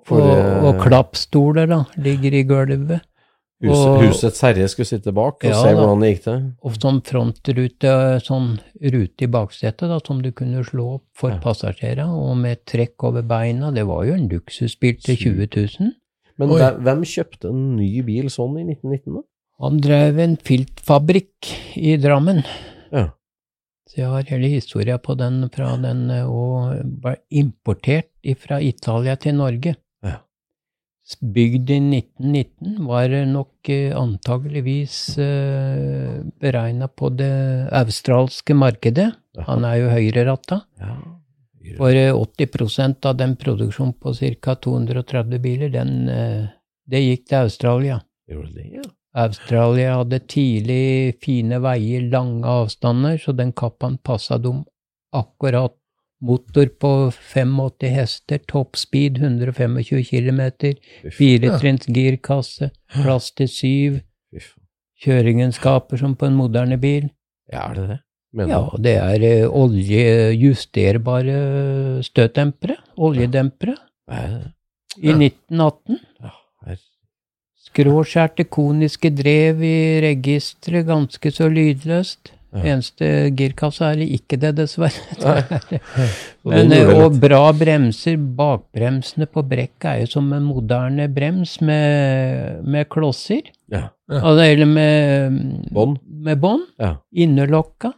C: For,
E: og,
C: eh,
E: og klappstoler, da, ligger i gulvet.
C: Huset,
E: og-
C: husets herre skulle sitte bak og
E: Ja,
C: se
E: da.
C: hvordan det gikk til.
E: Og sånn frontrute, sånn rute i baksetet da, som du kunne slå opp for
C: Ja.
E: passasjerer, og med trekk over beina. Det var jo en luksusbil til 20 000.
C: Men
B: Oi.
C: hvem- hvem kjøpte en ny bil sånn i 1919 da?
E: Han drev en filtfabrikk i Drammen.
C: Ja.
E: Så jeg har hele historia på den fra den eh, og ble importert fra Italia til Norge.
C: Ja.
E: Bygd i 1919 var det nok eh, antageligvis eh, beregna på det australske markedet.
C: Ja.
E: Han er jo høyreratta.
C: Ja.
E: For eh, 80 av den produksjonen på ca. 230 biler, den, eh, det gikk til Australia.
C: Gjorde det, ja.
E: Australia hadde tidlig fine veier, lange avstander, så den kappaen passa dem akkurat. Motor på 85 hester, toppspeed 125 km,
C: Fy faen.
E: firetrinns girkasse, plass til syv,
C: Fy faen.
E: kjøringenskaper som på en moderne bil.
C: Ja, er det det? Mener
E: Ja,
C: du?
E: det er eh, oljejusterbare støtdempere, oljedempere,
C: Er det det?
E: i 1918.
C: Ja, her.
E: Skråskjærte koniske drev i registeret, ganske så lydløst.
C: Ja.
E: Eneste girkassa er ikke det, dessverre.
C: Og den
E: Men, eh,
C: gjorde
E: og
C: litt-
E: bra bremser. Bakbremsene på brekket er jo som en moderne brems med, med klosser.
C: Ja.
E: Altså, eller med
C: Bånd.
E: Med bånd.
C: Ja.
E: Innerlokka.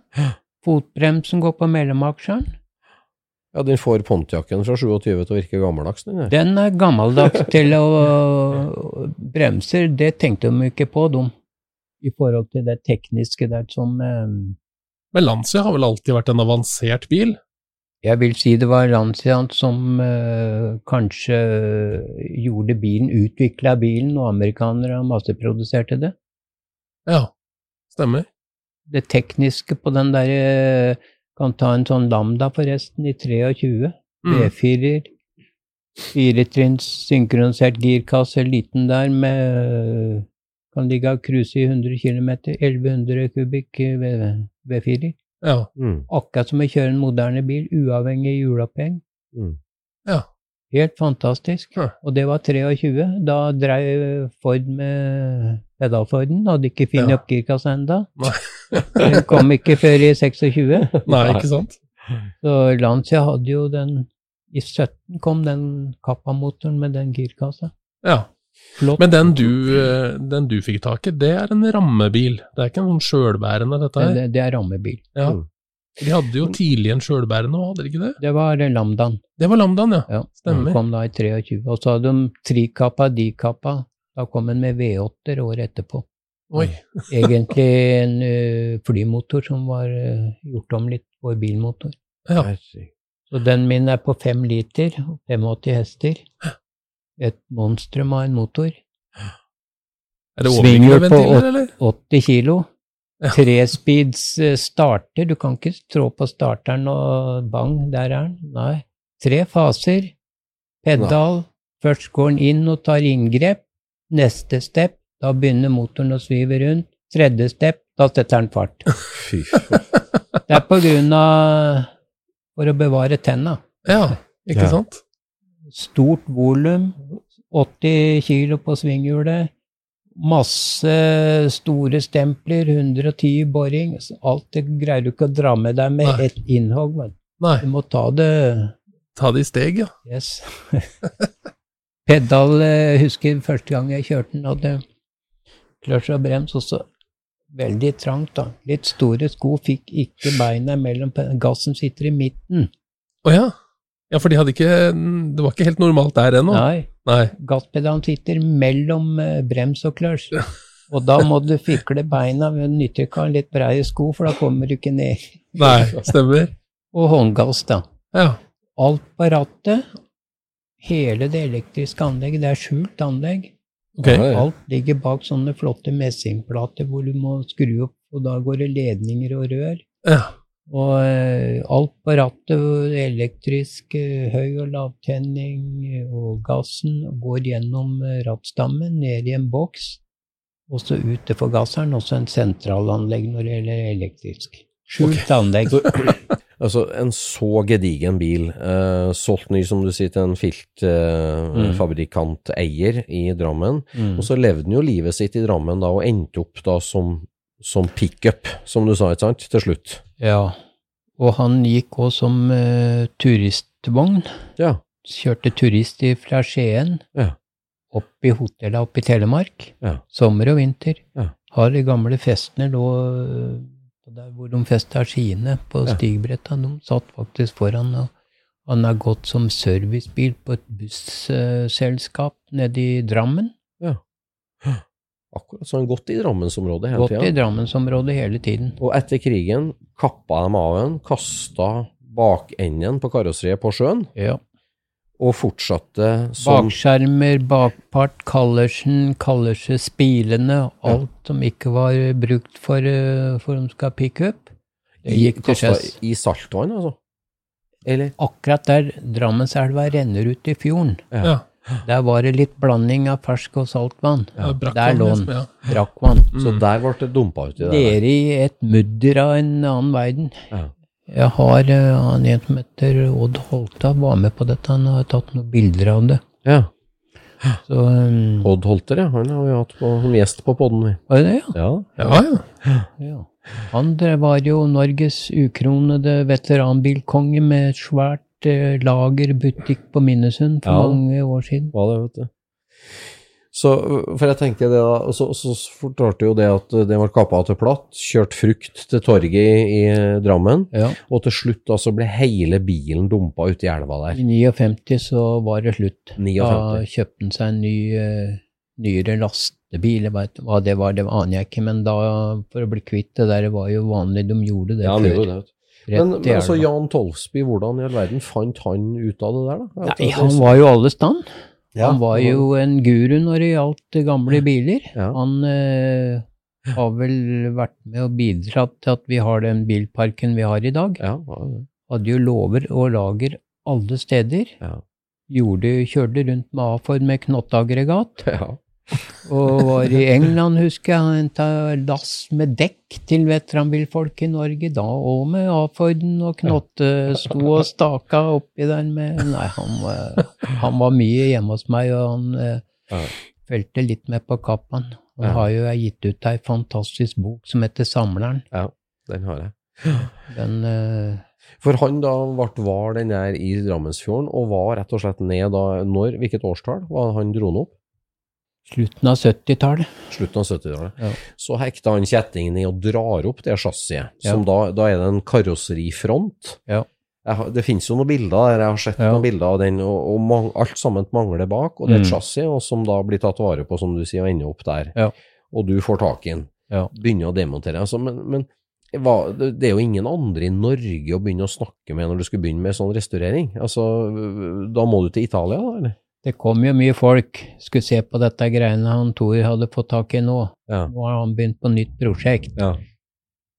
E: Fotbremsen går på mellomaksjeren.
C: ja, den får Pontiacen fra 27 til å virke gammeldags, den der.
E: Den er gammeldags til å bremser. Det tenkte de ikke på, de. I forhold til det tekniske der som eh,
B: Men Lancia har vel alltid vært en avansert bil?
E: Jeg vil si det var Lancian som eh, kanskje gjorde bilen, utvikla bilen, og amerikanere masseproduserte det.
B: Ja, stemmer.
E: Det tekniske på den derre Kan ta en sånn Lambda, forresten, i 23.
B: Mm.
E: B4-er. Firetrinns synkronisert girkasse, liten der, med Kan ligge og cruise i 100 km. 1100 kubikk eh, V- V4.
B: Ja.
C: Mm.
E: Akkurat som å kjøre en moderne bil, uavhengig hjuloppheng.
C: Mm.
B: Ja.
E: Helt fantastisk.
B: Ja.
E: Og det var 23. Da dreiv Ford med pedalforden. Hadde ikke funnet
B: Ja.
E: opp girkassa enda.
B: Nei.
E: Den kom ikke før i 26.
B: Nei, ikke sant?
E: Så Lancia hadde jo den I 17 kom den kappamotoren med den girkassa.
B: Ja.
E: Flott.
B: Men den du, eh, den du fikk tak i, det er en rammebil. Det er ikke en sånn sjølbærende, dette her.
E: det, det er rammebil.
B: Ja. De hadde jo tidlig en sjølbærende òg, hadde de ikke det?
E: Det var eh, Lambdaen.
B: Det var Lambdaen, ja.
E: Ja,
B: Stemmer.
E: Den kom da i 23. Og så hadde de trikappa, dikappa. Da kom den med V8-er året etterpå.
B: Oi.
E: Egentlig en eh, flymotor som var eh, gjort om litt for bilmotor.
B: Ja.
C: Herregud.
E: Så den min er på fem liter og 85 hester. Et monstrum av en motor.
B: Er det
E: Svinger
B: overliggende
E: på
B: ventiler,
E: åt-
B: eller?
E: 80 kilo. Trespeeds eh, starter. Du kan ikke trå på starteren og bang, der er den. Nei. Tre faser. Pedal. Først går den inn og tar inngrep. Neste step, da begynner motoren å svive rundt. Tredje step, da setter den fart.
C: Fy faen.
E: Det er på grunn av For å bevare tenna.
B: Ja, ikke
C: Ja.
B: sant?
E: Stort volum, 80 kilo på svinghjulet, masse store stempler, 110 boring. så Alt det greier du ikke å dra med deg med
B: Nei.
E: ett innhogg. Men
B: Nei,
E: du må ta det
B: ta det i steg, ja.
E: Yes. Pedal eh, husker første gang jeg kjørte den, hadde kløtsj og brems, og så veldig trangt, da. Litt store sko, fikk ikke beina mellom pe- gassen sitter i midten.
B: Å ja. Ja, for de hadde ikke Det var ikke helt normalt der ennå.
E: Nei,
B: Nei.
E: gasspedalen sitter mellom eh, brems og kløtsj. Og da må du fikle beina ved nytter ikke å ha litt breie sko, for da kommer du ikke ned.
B: Nei, stemmer.
E: Og håndgass, da.
B: Ja.
E: Alt på rattet. Hele det elektriske anlegget, det er skjult anlegg.
B: Ok.
E: Alt ligger bak sånne flotte messingplater hvor du må skru opp, og da går det ledninger og rør.
B: Ja.
E: Og eh, alt på rattet, og elektrisk eh, høy- og lavtenning, eh, og gassen går gjennom eh, rattstammen, ned i en boks, og så ut til forgasseren, og så en sentralanlegg når det gjelder elektrisk. Skjult anlegg.
C: Så, altså, en så gedigen bil, eh, solgt ny, som du sier, til en
E: Mm.
C: filtfabrikant-eier i Drammen.
E: Mm.
C: Og så levde den jo livet sitt i Drammen da, og endte opp da som, som pickup, som du sa, ikke sant, til slutt.
E: Ja. Og han gikk òg som eh, turistvogn.
C: Ja.
E: kjørte turist i- fra Skien
C: Ja.
E: opp i hotellet oppe i Telemark.
C: Ja.
E: Sommer og vinter.
C: Ja.
E: Har de gamle festene lå øh, der hvor de festa skiene på
C: Ja.
E: stigbretta. De satt faktisk foran og han har gått som servicebil på et busselskap nede i Drammen.
C: Akkurat så han gått i Drammensområdet hele
E: Gått i
C: tida.
E: Drammensområdet hele tiden.
C: Og etter krigen kappa de av en, kasta bakenden på karosseriet på sjøen,
E: Ja.
C: og fortsatte som
E: Bakskjermer, bakpart, Kallersen, Kallerse, spilene, alt som ikke var brukt for, eh, for de skal pick up. Det gikk til
C: Kasta
E: sjøs.
C: i saltvann, altså. Eller?
E: Akkurat der Drammenselva renner ut i fjorden,
B: ja.
E: der var det litt blanding av fersk og saltvann.
B: Ja, brakk
E: Der
B: han
E: lå
B: liksom,
E: den.
B: ja.
E: Brakkvann.
C: Så der ble det dumpa uti der.
E: Dere i et mudder av en annen verden.
C: Ja.
E: Jeg har eh, han en som heter Odd Holta, var med på dette. Han har tatt noen bilder av det.
C: Ja.
E: Så, eh,
C: Odd Holter, ja. Han har vi hatt på, som gjest på podden. vi.
E: var det det, ja?
C: Ja.
B: Ja, ja.
E: Ja. Han drev- var jo Norges ukronede veteranbilkonge med et svært eh, lager butikk på Minnesund for
C: Ja.
E: mange år siden.
C: Hva det, vet du. Så, for jeg tenkte det da, så, så fortalte jo det at det ble kappa til platt, kjørt frukt til torget i, i Drammen,
E: Ja.
C: og til slutt da så ble hele bilen dumpa uti elva der.
E: I 59 så var det slutt.
C: 59.
E: Da kjøpte han seg en ny, eh, nyere lastebil. Jeg vet hva det var, det aner jeg ikke, men da, for å bli kvitt det der, det var jo vanlig de gjorde det
C: Ja, han
E: før.
C: gjorde det, vet du.
E: Rett
C: Men,
E: i
C: men altså,
E: elva.
C: Jan Tolvsby, hvordan i all verden fant han ut av det der, da?
E: Nei, han var jo alle stand.
C: Ja,
E: han var jo en guru når det gjaldt gamle biler.
C: Ja.
E: Han eh, har vel vært med og bidratt til at vi har den bilparken vi har i dag.
C: Ja, han var jo det.
E: Hadde jo lover og lager alle steder.
C: Ja.
E: Gjorde, kjørte rundt med A-Ford med knottaggregat.
C: ja.
E: Og var i England, husker jeg, henta lass med dekk til veteranbilfolk i Norge da òg, med A-Forden og knotte sto og staka oppi der med Nei, han, var- han var mye hjemme hos meg, og han eh,
C: Ja.
E: fulgte litt med på kappen. Han
C: Ja.
E: har jo jeg gitt ut ei fantastisk bok som heter Samleren.
C: Den har jeg.
E: Den eh,
C: For han da ble var den der i Drammensfjorden, og var rett og slett ned da når, Hvilket årstall var det han dro den opp?
E: slutten av 70-tallet.
C: Slutten av 70-tallet.
E: Ja.
C: Så hekta han kjettingen i og drar opp det chassiset.
E: Ja.
C: Som da, da er det en karosserifront.
E: Ja.
C: Jeg, har- det finnes jo noen bilder der, jeg har sett
E: Ja.
C: noen bilder av den, og, og mang, alt sammen mangler bak. Og det er et
E: Mm.
C: chassis og som da blir tatt vare på, som du sier, og ender opp der.
E: Ja.
C: Og du får tak i den.
E: Ja.
C: Begynner å demontere. Altså, men, men hva, det det er jo ingen andre i Norge å begynne å snakke med når du skulle begynne med sånn restaurering. Altså, da må du til Italia, da? eller?
E: Det kom jo mye folk, skulle se på dette greiene han Thor hadde fått tak i nå.
C: Ja.
E: Nå har han begynt på nytt prosjekt.
C: ja.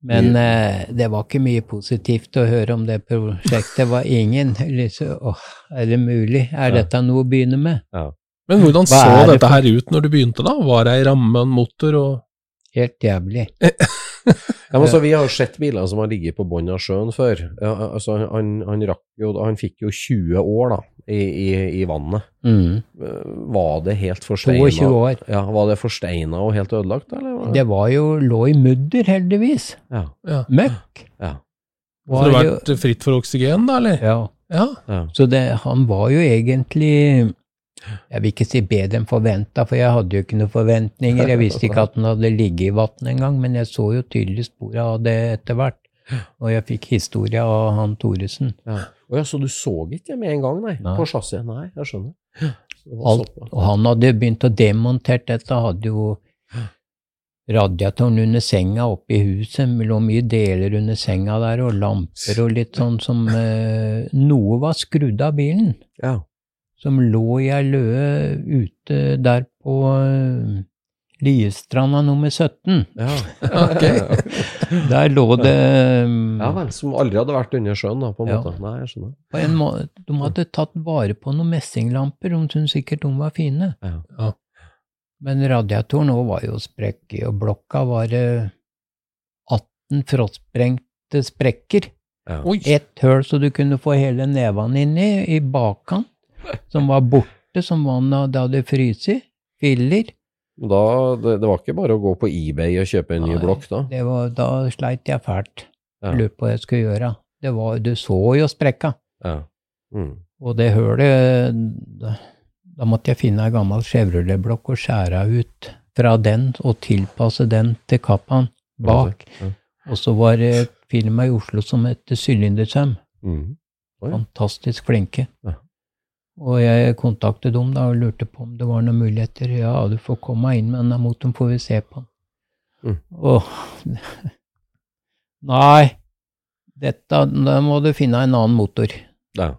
E: Men eh, det var ikke mye positivt å høre om det prosjektet. Det var ingen liksom, åh, er det mulig?
C: Ja.
E: Er dette noe å begynne med?
B: Men hvordan
E: Hva
B: så
E: er det
B: dette her ut når du begynte, da? Var det ei ramme og en motor og
E: Helt jævlig.
C: Ja,
E: Eh.
C: men altså, vi har jo sett biler som har ligget på bånn av sjøen før. Ja, altså, han, han, rakk jo, han fikk jo 20 år da, i, i, i vannet.
E: Mm.
C: Eh, Var det helt forsteina?
E: 22 år.
C: Ja, var det forsteina og helt ødelagt, eller? var
E: Det var jo, lå i mudder, heldigvis.
C: Ja,
B: ja.
E: Møkk.
C: ja,
B: Så det
E: Var
B: har
E: jo,
B: vært fritt for oksygen, da, eller?
E: ja.
B: Ja.
C: ja.
E: Så det, han var jo egentlig Jeg vil ikke si bedre enn forventa, for jeg hadde jo ikke noen forventninger. Jeg visste ikke at den hadde ligget i vann engang, men jeg så jo tydelig sporet av det etter hvert. Og jeg fikk historie av han Thoresen.
C: Ja. Å ja, så du så ikke med en gang, nei?
E: Nei.
C: På chassiset? Nei, jeg skjønner. Så det var
E: Alt,
C: såpass.
E: og han hadde begynt å demontere dette, hadde jo radiatoren under senga oppe i huset, det lå mye deler under senga der, og lamper og litt sånn som eh, Noe var skrudd av bilen,
C: Ja.
E: som lå i ei løe ute der på eh, Liestranda nummer 17.
C: ja. ok.
E: Der lå det eh,
C: Ja vel, som aldri hadde vært under sjøen, da, på en
E: Ja.
C: måte. Nei, jeg skjønner.
E: på en må De hadde tatt vare på noen messinglamper, de syntes sikkert de var fine.
C: Ja.
E: Men radiatoren òg var jo sprekk i, og blokka var det 18 frostbrengte sprekker.
C: Ja.
B: Oi!
E: Ett høl så du kunne få hele nevene inni, i bakkant, som var borte som vannet det hadde fryst i. Filler.
C: Men Da, det, det var ikke bare å gå på eBay og kjøpe en ny
E: Nei,
C: blokk, da?
E: Det var, da sleit jeg fælt.
C: Ja.
E: Lurte på hva jeg skulle gjøre. Det var, du så jo sprekka.
C: Ja. Mm.
E: Og det hølet da- Da måtte jeg finne ei gammel Chevrolet-blokk og skjære ut fra den og tilpasse den til kappaen bak.
C: Ja.
E: Og så var det firma i Oslo som het Sylindersøm.
C: Mm. Oi.
E: Fantastisk flinke.
C: Ja.
E: Og jeg kontaktet dem da og lurte på om det var noen muligheter. Ja, du får komme inn med denne motoren, får vi se på den.
C: Mm.
E: Og Nei, dette, da må du finne en annen motor.
C: Ja.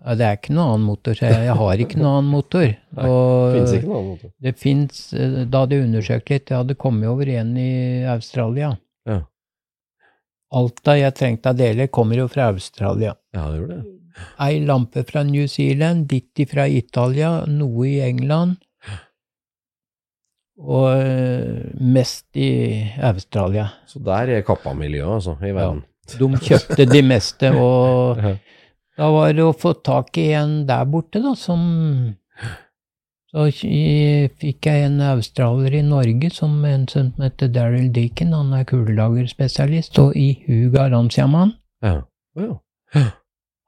E: Ja, det er ikke noen annen motor. så Jeg, jeg har ikke noen annen motor.
C: Nei,
E: Og
C: Finnes ikke noen annen måte.
E: det fins Da hadde jeg undersøkt litt. Jeg hadde kommet over en i Australia.
C: Ja.
E: Alt da jeg trengte av deler, kommer jo fra Australia.
C: Ja, det gjorde det.
E: Ei lampe fra New Zealand, litt fra Italia, noe i England. Og eh, mest i Australia.
C: Så der er kappamiljøet, altså, i verden.
E: De kjøpte de meste, og
C: Ja.
E: da var det å få tak i en der borte, da, som Så i- fikk jeg en australier i Norge som en som heter Daryl Deacon, han er kulelagerspesialist, og i huga Ransjaman.
C: Ja. Å ja.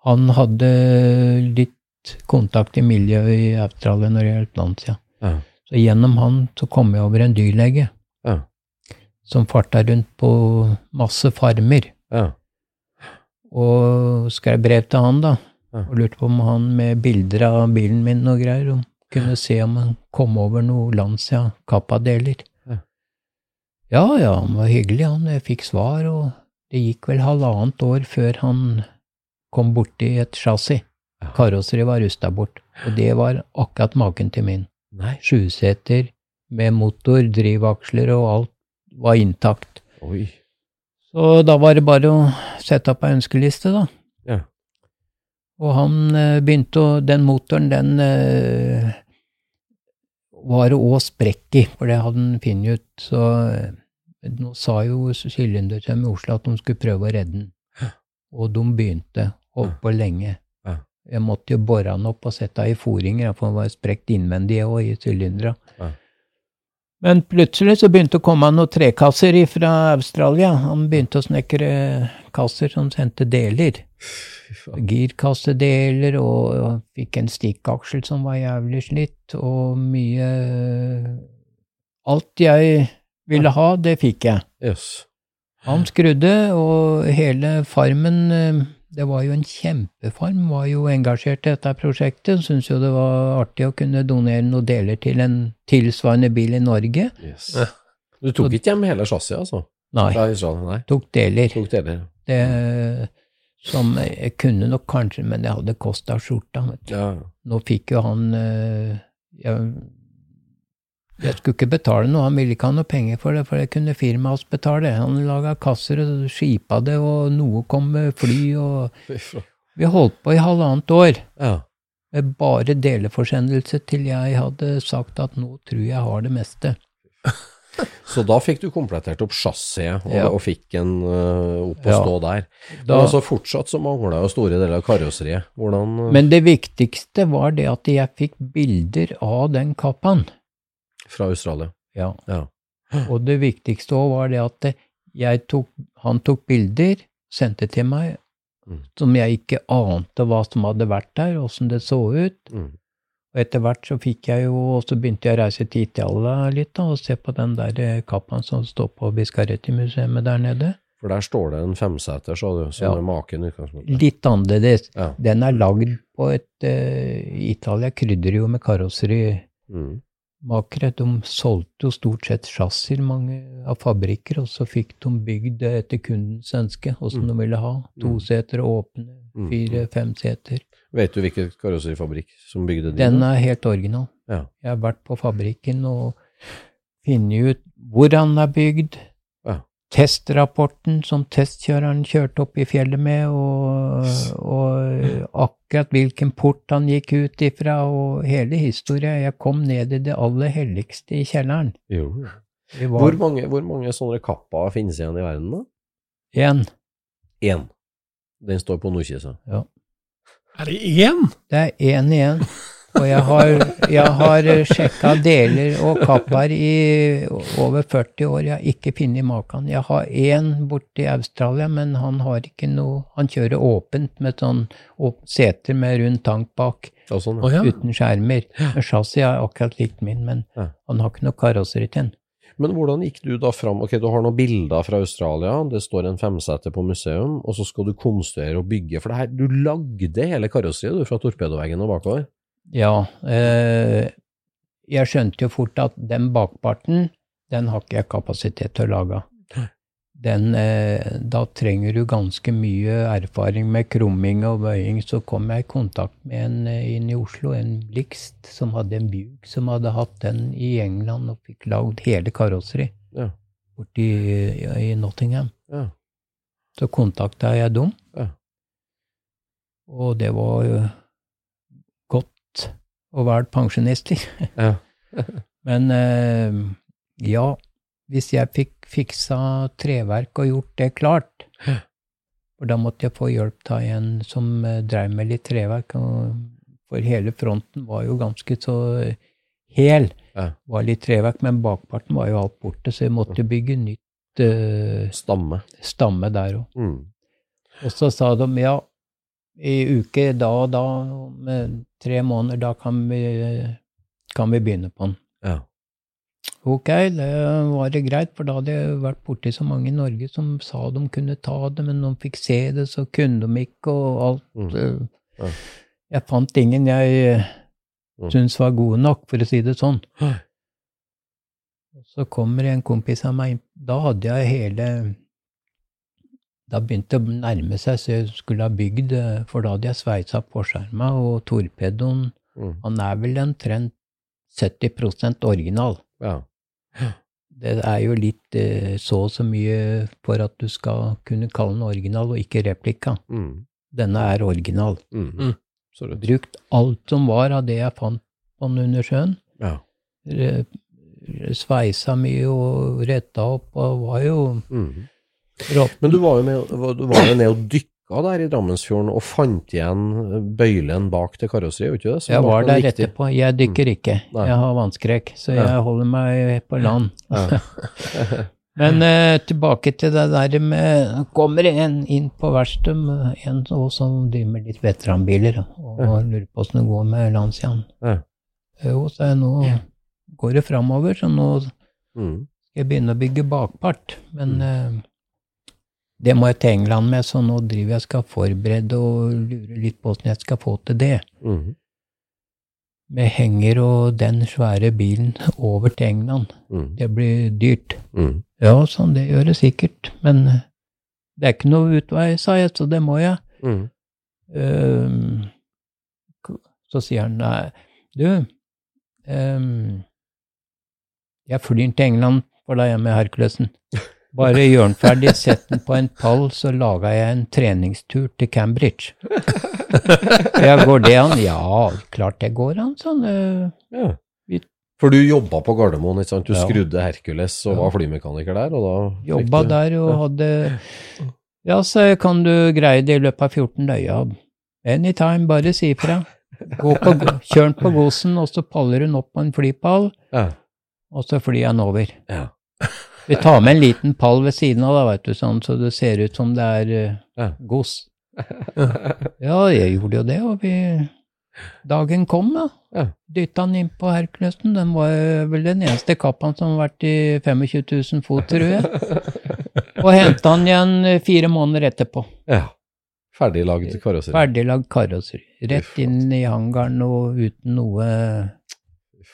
E: Han hadde litt kontakt i miljøet i Australia når det gjaldt Lancia.
C: Ja.
E: Så gjennom han så kom jeg over en dyrlege
C: Ja.
E: som farta rundt på masse farmer.
C: Ja.
E: og skrev brev til han, da.
C: Ja.
E: Og lurte på om han med bilder av bilen min og greier om kunne se om han kom over noe Lancia Kappa-deler.
C: Ja.
E: Ja ja, han var hyggelig, han. Jeg fikk svar, og det gikk vel halvannet år før han kom borti et chassis.
C: Ja.
E: Karosseriet var rusta bort, og det var akkurat maken til min.
C: Nei.
E: Sjuseter med motor, drivaksler og alt var intakt.
C: Oi.
E: Så da var det bare å sette opp ei ønskeliste, da.
C: Ja.
E: Og han eh, begynte å Den motoren, den eh, var det òg sprekk i, for det hadde han funnet ut. Så eh, nå sa jo Sylindertøm i Oslo at de skulle prøve å redde den. Og de begynte. Holdt på lenge.
C: Ja.
E: Jeg måtte jo bore den opp og sette den i foringer, for den var sprukket innvendig og i sylindera.
C: Ja.
E: Men plutselig så begynte å komme noen trekasser fra Australia. Han begynte å snekre kasser som sendte deler. Girkassedeler, og og fikk en stikkaksel som var jævlig slitt, og mye Alt jeg ville ha, det fikk jeg.
C: Jøss.
E: Han skrudde, og hele farmen eh, Det var jo en kjempefarm, var jo engasjert i dette prosjektet. Syntes jo det var artig å kunne donere noen deler til en tilsvarende bil i Norge.
C: Yes. Du tok ikke hjem hele chassiset, altså?
E: Nei,
C: Fra Israel? Nei.
E: tok deler.
C: Tok deler?
E: Det som jeg kunne nok kanskje, men det hadde kosta skjorta. Vet du.
C: Ja.
E: Nå fikk jo han eh, jeg, jeg skulle ikke betale noe, han ville ikke ha noe penger for det, for det kunne firmaet hans betale. Han laga kasser og skipa det, og noe kom med fly og
C: Fy faen.
E: Vi holdt på i halvannet år
C: Ja.
E: med bare deleforsendelse til jeg hadde sagt at nå tror jeg har det meste.
C: Så da fikk du komplettert opp chassiset, og,
E: Ja.
C: og fikk den øh, opp og
E: Ja.
C: stå der.
E: Da,
C: Men altså fortsatt så mangla jo store deler av karosseriet. Hvordan øh,
E: men det viktigste var det at jeg fikk bilder av den kappaen.
C: Fra Australia.
E: Ja.
C: Ja.
E: Og det viktigste òg var det at jeg tok, han tok bilder, sendte til meg,
C: Mm.
E: som jeg ikke ante hva som hadde vært der, åssen det så ut.
C: Mm.
E: Og etter hvert så fikk jeg jo, og så begynte jeg å reise til Italia litt, da, og se på den der eh, kappaen som står på Biscaretti-museet der nede.
C: For der står det en femseter, sa du, som
E: Ja.
C: er maken i utgangspunktet.
E: Litt annerledes.
C: Ja.
E: Den er lagd på et eh, Italia krydrer jo med karosseri.
C: Mm.
E: Makere de solgte jo stort sett chassier mange av fabrikker, og så fikk de bygd det etter kundens ønske, åssen de ville ha. To
C: Mm.
E: seter åpne,
C: Mm.
E: fire-fem seter.
C: Vet du hvilken karosserifabrikk som bygde din?
E: Den er helt original.
C: Ja.
E: Jeg har vært på fabrikken og funnet ut hvor han er bygd,
C: Ja.
E: testrapporten som testkjøreren kjørte opp i fjellet med, og, og akkurat hvilken port han gikk ut ifra, og hele historien. Jeg kom ned i det aller helligste i kjelleren.
C: Jo.
E: Vi var
C: Hvor mange, hvor mange sånne kappa finnes igjen i verden, da?
E: en.
C: Én. Den står på Nordkisa.
B: Er det én?
E: Det er én igjen. Og jeg har, jeg har sjekka deler og kapper i over 40 år. Jeg har ikke funnet maken. Jeg har én borte i Australia, men han har ikke noe Han kjører åpent med sånn åp- seter med rund tank bak,
C: Ja, sånn,
B: Å ja.
E: uten skjermer. Men Chassis er akkurat likt min, men
C: Ja.
E: han har ikke noe karosseri til den.
C: Men hvordan gikk du da fram? Ok, du har noen bilder fra Australia, det står en femseter på museum, og så skal du konstruere og bygge, for det her, du lagde hele karosseriet du, fra torpedoveggen og bakover.
E: Ja. Eh, jeg skjønte jo fort at den bakparten, den har ikke jeg kapasitet til å lage. Den, eh, da trenger du ganske mye erfaring med krumming og bøying. Så kom jeg i kontakt med en eh, inn i Oslo, en Blikst, som hadde en bug som hadde hatt den i England og fikk lagd hele karosseri
C: Ja.
E: borti ja, i Nottingham.
C: Ja.
E: Så kontakta jeg dem,
C: Ja.
E: og det var jo godt å være pensjonister.
C: Ja.
E: Men eh, ja, hvis jeg fikk fiksa treverk og gjort det klart For da måtte jeg få hjelp av en som eh, drev med litt treverk. Og, for hele fronten var jo ganske så hel.
C: Ja.
E: Var litt treverk, men bakparten var jo alt borte, så jeg måtte bygge nytt eh,
C: Stamme.
E: stamme der òg.
C: Mm.
E: Og så sa de ja, i uke da og da, om eh, tre måneder, da kan vi, kan vi begynne på den.
C: Ja.
E: Ok, det var det greit, for da hadde jeg vært borti så mange i Norge som sa de kunne ta det, men de fikk se det, så kunne de ikke, og alt.
C: Mm.
E: eh,
C: Ja.
E: Jeg fant ingen jeg eh,
C: Mm.
E: syntes var gode nok, for å si det sånn.
C: Hæ.
E: Og Så kommer en kompis av meg inn. Da hadde jeg hele Da begynte det å nærme seg, så jeg skulle ha bygd, eh, for da hadde jeg sveisa forskjerma, og torpedoen
C: Mm.
E: Han er vel omtrent 70 original
C: Ja.
E: det er jo litt eh, så og så mye for at du skal kunne kalle den original og ikke replika.
C: Mm.
E: Denne er original.
C: Mm.
B: Mm.
C: Absolutt.
E: Brukt alt som var av det jeg fant på den under sjøen.
C: Ja.
E: Re- Sveisa mye og retta opp og var jo
C: Mm.
E: rått.
C: Men du var jo, med, du var jo ned og dykka der i Drammensfjorden og fant igjen eh, bøylen bak til karosseriet, gjorde du ikke det? Som
E: Jeg
C: ble
E: var
C: en
E: der
C: viktig- Mm.
E: etterpå. Jeg dykker ikke.
C: Nei.
E: Jeg har vannskrekk, så
C: Ja.
E: jeg holder meg på land.
C: Ja.
E: Men eh, tilbake til det der med Kommer en inn på verkstedet, en også som driver med litt veteranbiler, og
C: Ja.
E: lurer på åssen det går med Lancian. Eh,
C: Ja.
E: Jo, sa jeg, nå går det framover, så nå skal
C: Mm.
E: jeg begynne å bygge bakpart. Men eh, det må jeg til England med, så nå driver jeg skal forberede og lure litt på åssen jeg skal få til det.
C: Mm.
E: Med henger og den svære bilen over til England.
C: Mm.
E: Det blir dyrt.
C: Mm.
E: Ja, sånn, det gjør det sikkert, men eh, det er ikke noe utvei, sa jeg, så det må jeg.
C: Mm.
E: Ehm, ko- så sier han nei, du, ehm, jeg flyr til England, for da er jeg med Herkulesen. Bare gjør den ferdig, sett den på en pall, så lager jeg en treningstur til Cambridge. Ja, går det an? Ja, klart det går an, sånn. eh,
C: Ja.
E: Vi-
C: For du jobba på Gardermoen, ikke sant? Du
E: Ja.
C: skrudde Hercules og var flymekaniker der, og da fikk
E: Jobba
C: du-
E: der og
C: Ja.
E: hadde Ja, så kan du greie det i løpet av 14 dager. Ja. Anytime, bare si ifra. Gå på go- Kjør den på Gosen, og så paller hun opp på en flypall,
C: Ja.
E: og så flyr jeg den over.
C: Ja.
E: Vi tar med en liten pall ved siden av, da, vet du, sånn, så det ser ut som det er eh,
C: Ja.
E: gods. Ja, jeg gjorde jo det, og vi Dagen kom, ja.
C: Ja.
E: Dytta han inn på Herkulesen. Den var vel den eneste kappaen som har vært i 25 000 fot, tror jeg. Og henta han igjen eh, fire måneder etterpå.
C: Ja. Ferdiglagd karosseri.
E: Ferdiglagd karosseri. Rett inn i hangaren og uten noe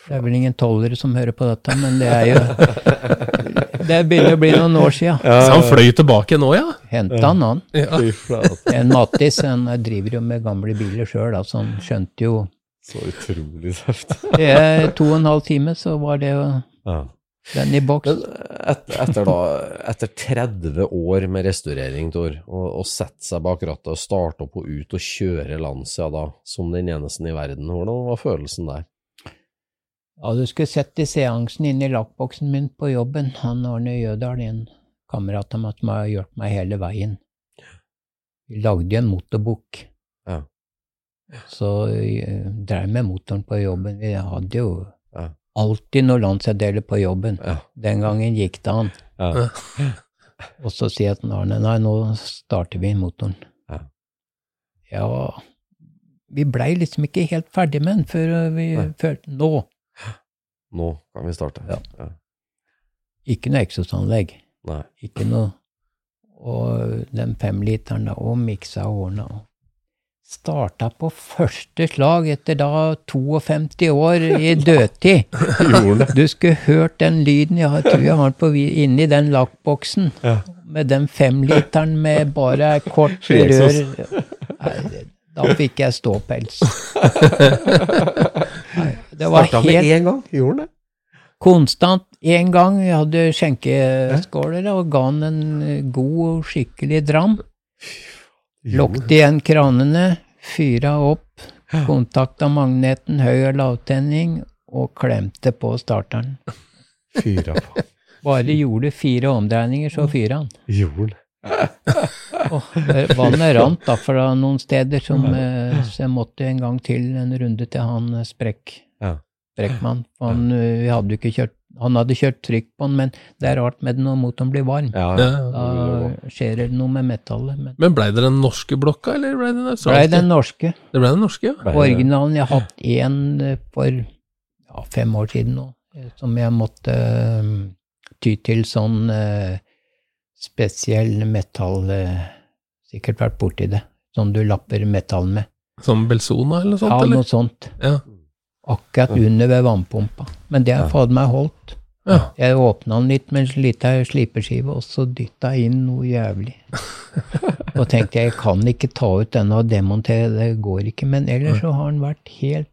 E: Det er vel ingen tollere som hører på dette, men det er jo Det begynner å bli noen år sia.
B: Så han fløy tilbake nå, ja?
E: Henta han han.
B: ja.
C: Fy flate.
E: En Mattis han driver jo med gamle biler sjøl, så han skjønte jo
C: Så utrolig tøft.
E: Det er to og en halv time, så var det jo
C: Ja.
E: den i boks.
C: Men et, etter, da, etter 30 år med restaurering, Tor, og, og sette seg bak rattet og starte opp og ut og kjøre Lancia da, som den eneste i verden, hvordan var følelsen der?
E: Ja, du skulle sett i seansen inne i lakkboksen min på jobben. Han Arne Jødal, en kamerat av meg som har hjulpet meg hele veien. Vi lagde jo en motorbukk.
C: Ja.
E: Så eh, drev med motoren på jobben. Vi hadde jo
C: Ja.
E: alltid noen landsdeler på jobben.
C: Ja.
E: Den gangen gikk det an.
C: Ja.
E: Og så sier jeg til Arne nei, nå starter vi motoren.
C: Ja.
E: Ja, vi blei liksom ikke helt ferdig med den før vi
C: Nei.
E: følte nå.
C: Nå kan vi starte.
E: Ja. Ikke noe eksosanlegg.
C: Nei.
E: Ikke noe Og den femliteren, da, og miksa og ordna. og Starta på første slag etter da 52 år i dødtid. Du skulle hørt den lyden. Jeg har- tror jeg har den på vi- inni den lakkboksen. Med den femliteren med bare kort rør. Nei, det- Da fikk jeg ståpels. Nei, Det var
C: Starta med
E: helt
C: én gang, gjorde den det?
E: Konstant én gang. Jeg hadde skjenkeskåler og ga han en god og skikkelig dram. Lukket igjen kranene, fyra opp, kontakta magneten, høy- og lavtenning, og klemte på starteren.
C: Fyra på.
E: Bare gjorde fire omdreininger, så fyra han.
C: Gjorde den.
E: Og vannet rant da fra noen steder, som, eh, så jeg måtte en gang til en runde til han eh, sprekk.
C: Ja.
E: Brekkmann. for Han, eh, vi hadde jo ikke kjørt, han hadde kjørt trykk på den, men det er rart med den når motoren blir varm.
C: Ja,
B: Ja.
C: ja.
E: Da skjer det noe med metallet. Men
B: Men blei det den norske blokka, eller blei det den
E: så er
B: australske?
E: det den norske.
B: Det blei den norske, ja.
C: Bare-
E: Originalen. Jeg har hatt én eh, for ja, fem år siden nå, eh, som jeg måtte eh, ty til sånn eh, spesiell metall eh, Sikkert vært borti det. Som du lapper metallen med.
B: Som Belsona eller noe sånt,
E: ja,
B: eller?
E: noe sånt.
B: Ja.
E: Akkurat under ved vannpumpa. Men det har fader meg holdt.
B: Ja.
E: Jeg åpna den litt med en lita slipeskive, og så dytta jeg inn noe jævlig. og tenkte jeg, jeg kan ikke ta ut denne og demontere, det går ikke. Men ellers så har den vært helt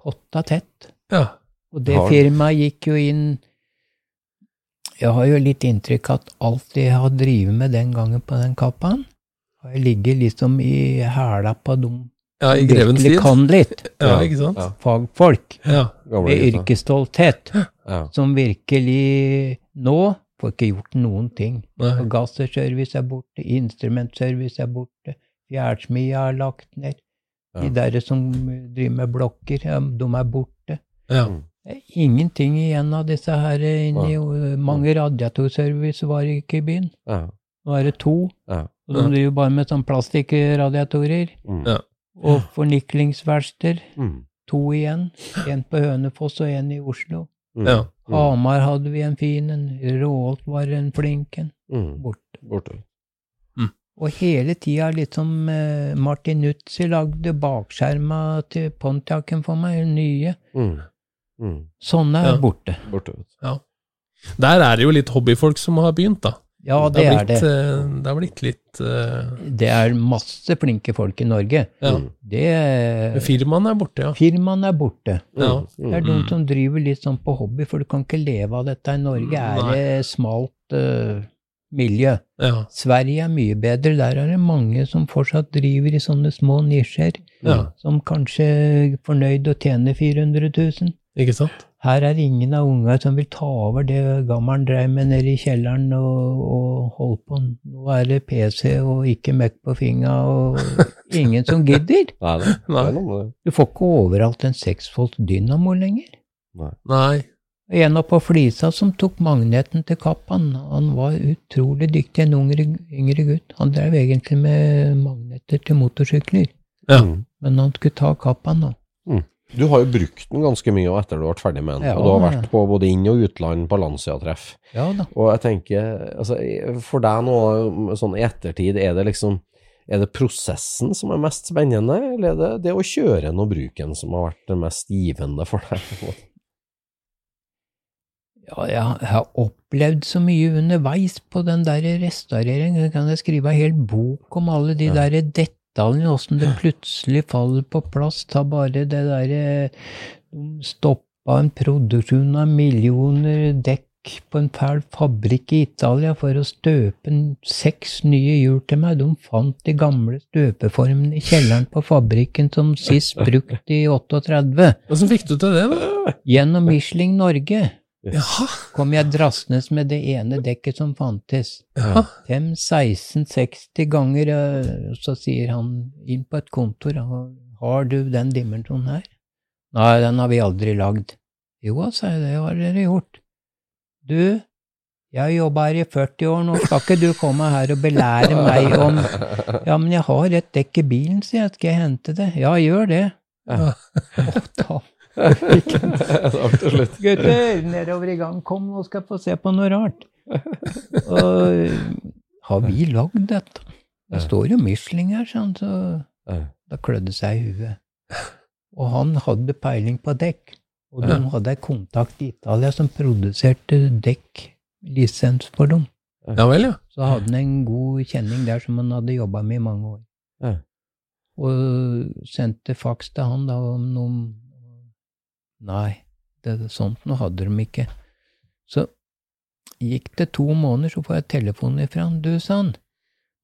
E: potta tett.
B: ja.
E: Og det
C: Har den?
E: firmaet gikk jo inn Jeg har jo litt inntrykk at alt det jeg har drevet med den gangen på den kappaen, har jeg ligget liksom i hæla på dem
B: ja i
E: som
B: grevens
E: virkelig
B: tid.
E: kan litt.
B: Ja, ikke sant?
C: Ja.
E: Fagfolk
B: Ja.
C: Gamle
E: med
C: gutta.
E: yrkesstolthet
C: altså. Ja.
E: som virkelig nå får ikke gjort noen ting.
B: Nei.
E: Gasserservice er borte, instrumentservice er borte, fjærsmia er lagt ned. De der som driver med blokker, ja, de er borte.
B: Ja.
E: Det er Ingenting igjen av disse her eh, inni
C: Nei.
E: jo- Mange radiatorservice var ikke i byen.
C: Ja.
E: Nå er det to.
C: Ja.
E: Og de driver bare med sånn plastikkradiatorer.
C: Mm.
B: Ja.
E: Og forniklingsverksteder.
C: Mm.
E: To igjen. En på Hønefoss og en i Oslo.
C: Mm.
B: Ja.
C: Mm.
E: Hamar hadde vi en fin en, Råholt var en flink en,
C: Mm.
E: borte.
C: Borte.
E: Og hele tida liksom eh, Martin Nutzi lagde bakskjerma til Pontiacen for meg, nye.
C: Mm. Mm.
E: Sånne er
B: Ja.
E: borte.
C: Borte. vet du.
B: Der er det jo litt hobbyfolk som har begynt, da.
E: Ja, det
B: har
E: er det.
B: blitt, eh, Det har blitt litt eh,
E: Det er masse flinke folk i Norge.
B: Ja.
C: Mm.
E: Det
B: Firmaene er borte, ja.
E: Firmaene er borte.
B: ja.
C: Mm.
E: Det er de
B: Mm.
E: som driver litt sånn på hobby, for du kan ikke leve av dette. I Norge er
B: Nei.
E: det smalt eh, miljø.
B: Ja.
E: Sverige er mye bedre. Der er det mange som fortsatt driver i sånne små nisjer,
B: ja.
E: som kanskje er fornøyd og tjener 400 000.
B: Ikke sant?
E: Her er ingen av unga som vil ta over det gammelen dreiv med nede i kjelleren og, og holdt på. Nå er det PC og ikke møkk på fingra, og ingen som gidder.
C: Nei, det det
B: Nei.
C: er noe med det.
E: Du får ikke overalt en seksfolds dynamo lenger.
B: Nei.
E: En oppe på Flisa som tok magneten til Kappan. Han var utrolig dyktig, en yngre, yngre gutt. Han drev egentlig med magneter til motorsykler.
B: Ja.
C: Mm.
E: Men han skulle ta Kappan nå.
C: Du har jo brukt den ganske mye også etter du ble ferdig med den.
E: Ja,
C: og du har
E: ja.
C: vært på både inn- og utland på Lancia-treff.
E: Ja da.
C: Og jeg tenker, altså, for deg nå, sånn i ettertid, er det liksom er det prosessen som er mest spennende, eller er det det å kjøre den og bruke den som har vært det mest givende for deg?
E: Ja, jeg har opplevd så mye underveis på den der restaureringen. Kan jeg skrive en hel bok om alle de der detaljene, åssen det plutselig faller på plass? Ta bare det derre Stoppa en produksjon av millioner dekk på en fæl fabrikk i Italia for å støpe en- seks nye hjul til meg. De fant de gamle støpeformene i kjelleren på fabrikken som sist brukt i 38.
B: Hvordan fikk du til det, da?
E: Gjennom Michelin Norge
B: Jaha.
E: kom jeg drassende med det ene dekket som fantes.
B: Ja.
E: 5-16-60 ganger, eh, så sier han inn på et kontor, «Ha- har du den dimensjonen her? Nei, den har vi aldri lagd. Jo, sa jeg, det har dere gjort. Du, jeg har jobba her i 40 år, nå skal ikke du komme her og belære meg om Ja, men jeg har et dekk i bilen, sier jeg, skal jeg hente det? Ja, gjør det.
C: Ja.
E: Å, da
C: Absolutt.
E: Gutter, nedover i gang, kom nå skal jeg få se på noe rart. Og har vi lagd dette? Det står jo Michelin her, sånn, så da klødde det seg i huet. Og han hadde peiling på dekk. Og de hadde en kontakt i Italia som produserte dekklisens for dem.
B: Ja vel, ja.
E: Så hadde han en god kjenning der som han hadde jobba med i mange år.
C: Ja.
E: Og sendte faks til han da om noen Nei, det, sånt noe hadde de ikke. Så gikk det to måneder, så får jeg telefon ifra han. Du, sa han,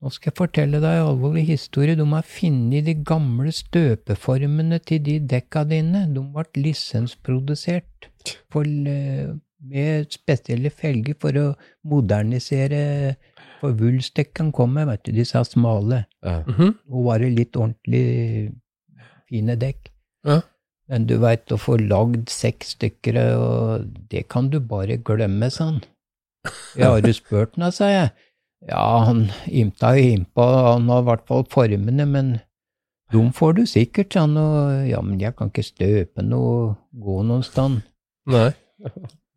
E: nå skal jeg fortelle deg en alvorlig historie. De har funnet de gamle støpeformene til de dekka dine. De ble lisensprodusert for, eh, med spesielle felger for å modernisere For Wulstekken kom med, vet du, de sa smale.
B: Mhm.
E: Og var det litt ordentlig fine dekk.
B: Ja.
E: Men du veit, å få lagd seks stykker, og det kan du bare glemme, sa han. Ja, har du spurt han, sa jeg. Ja, han imta jo impa, han har i hvert fall formene, men dem får du sikkert, sa han. Og ja, men jeg kan ikke støpe noe, gå noen sted.
B: Nei.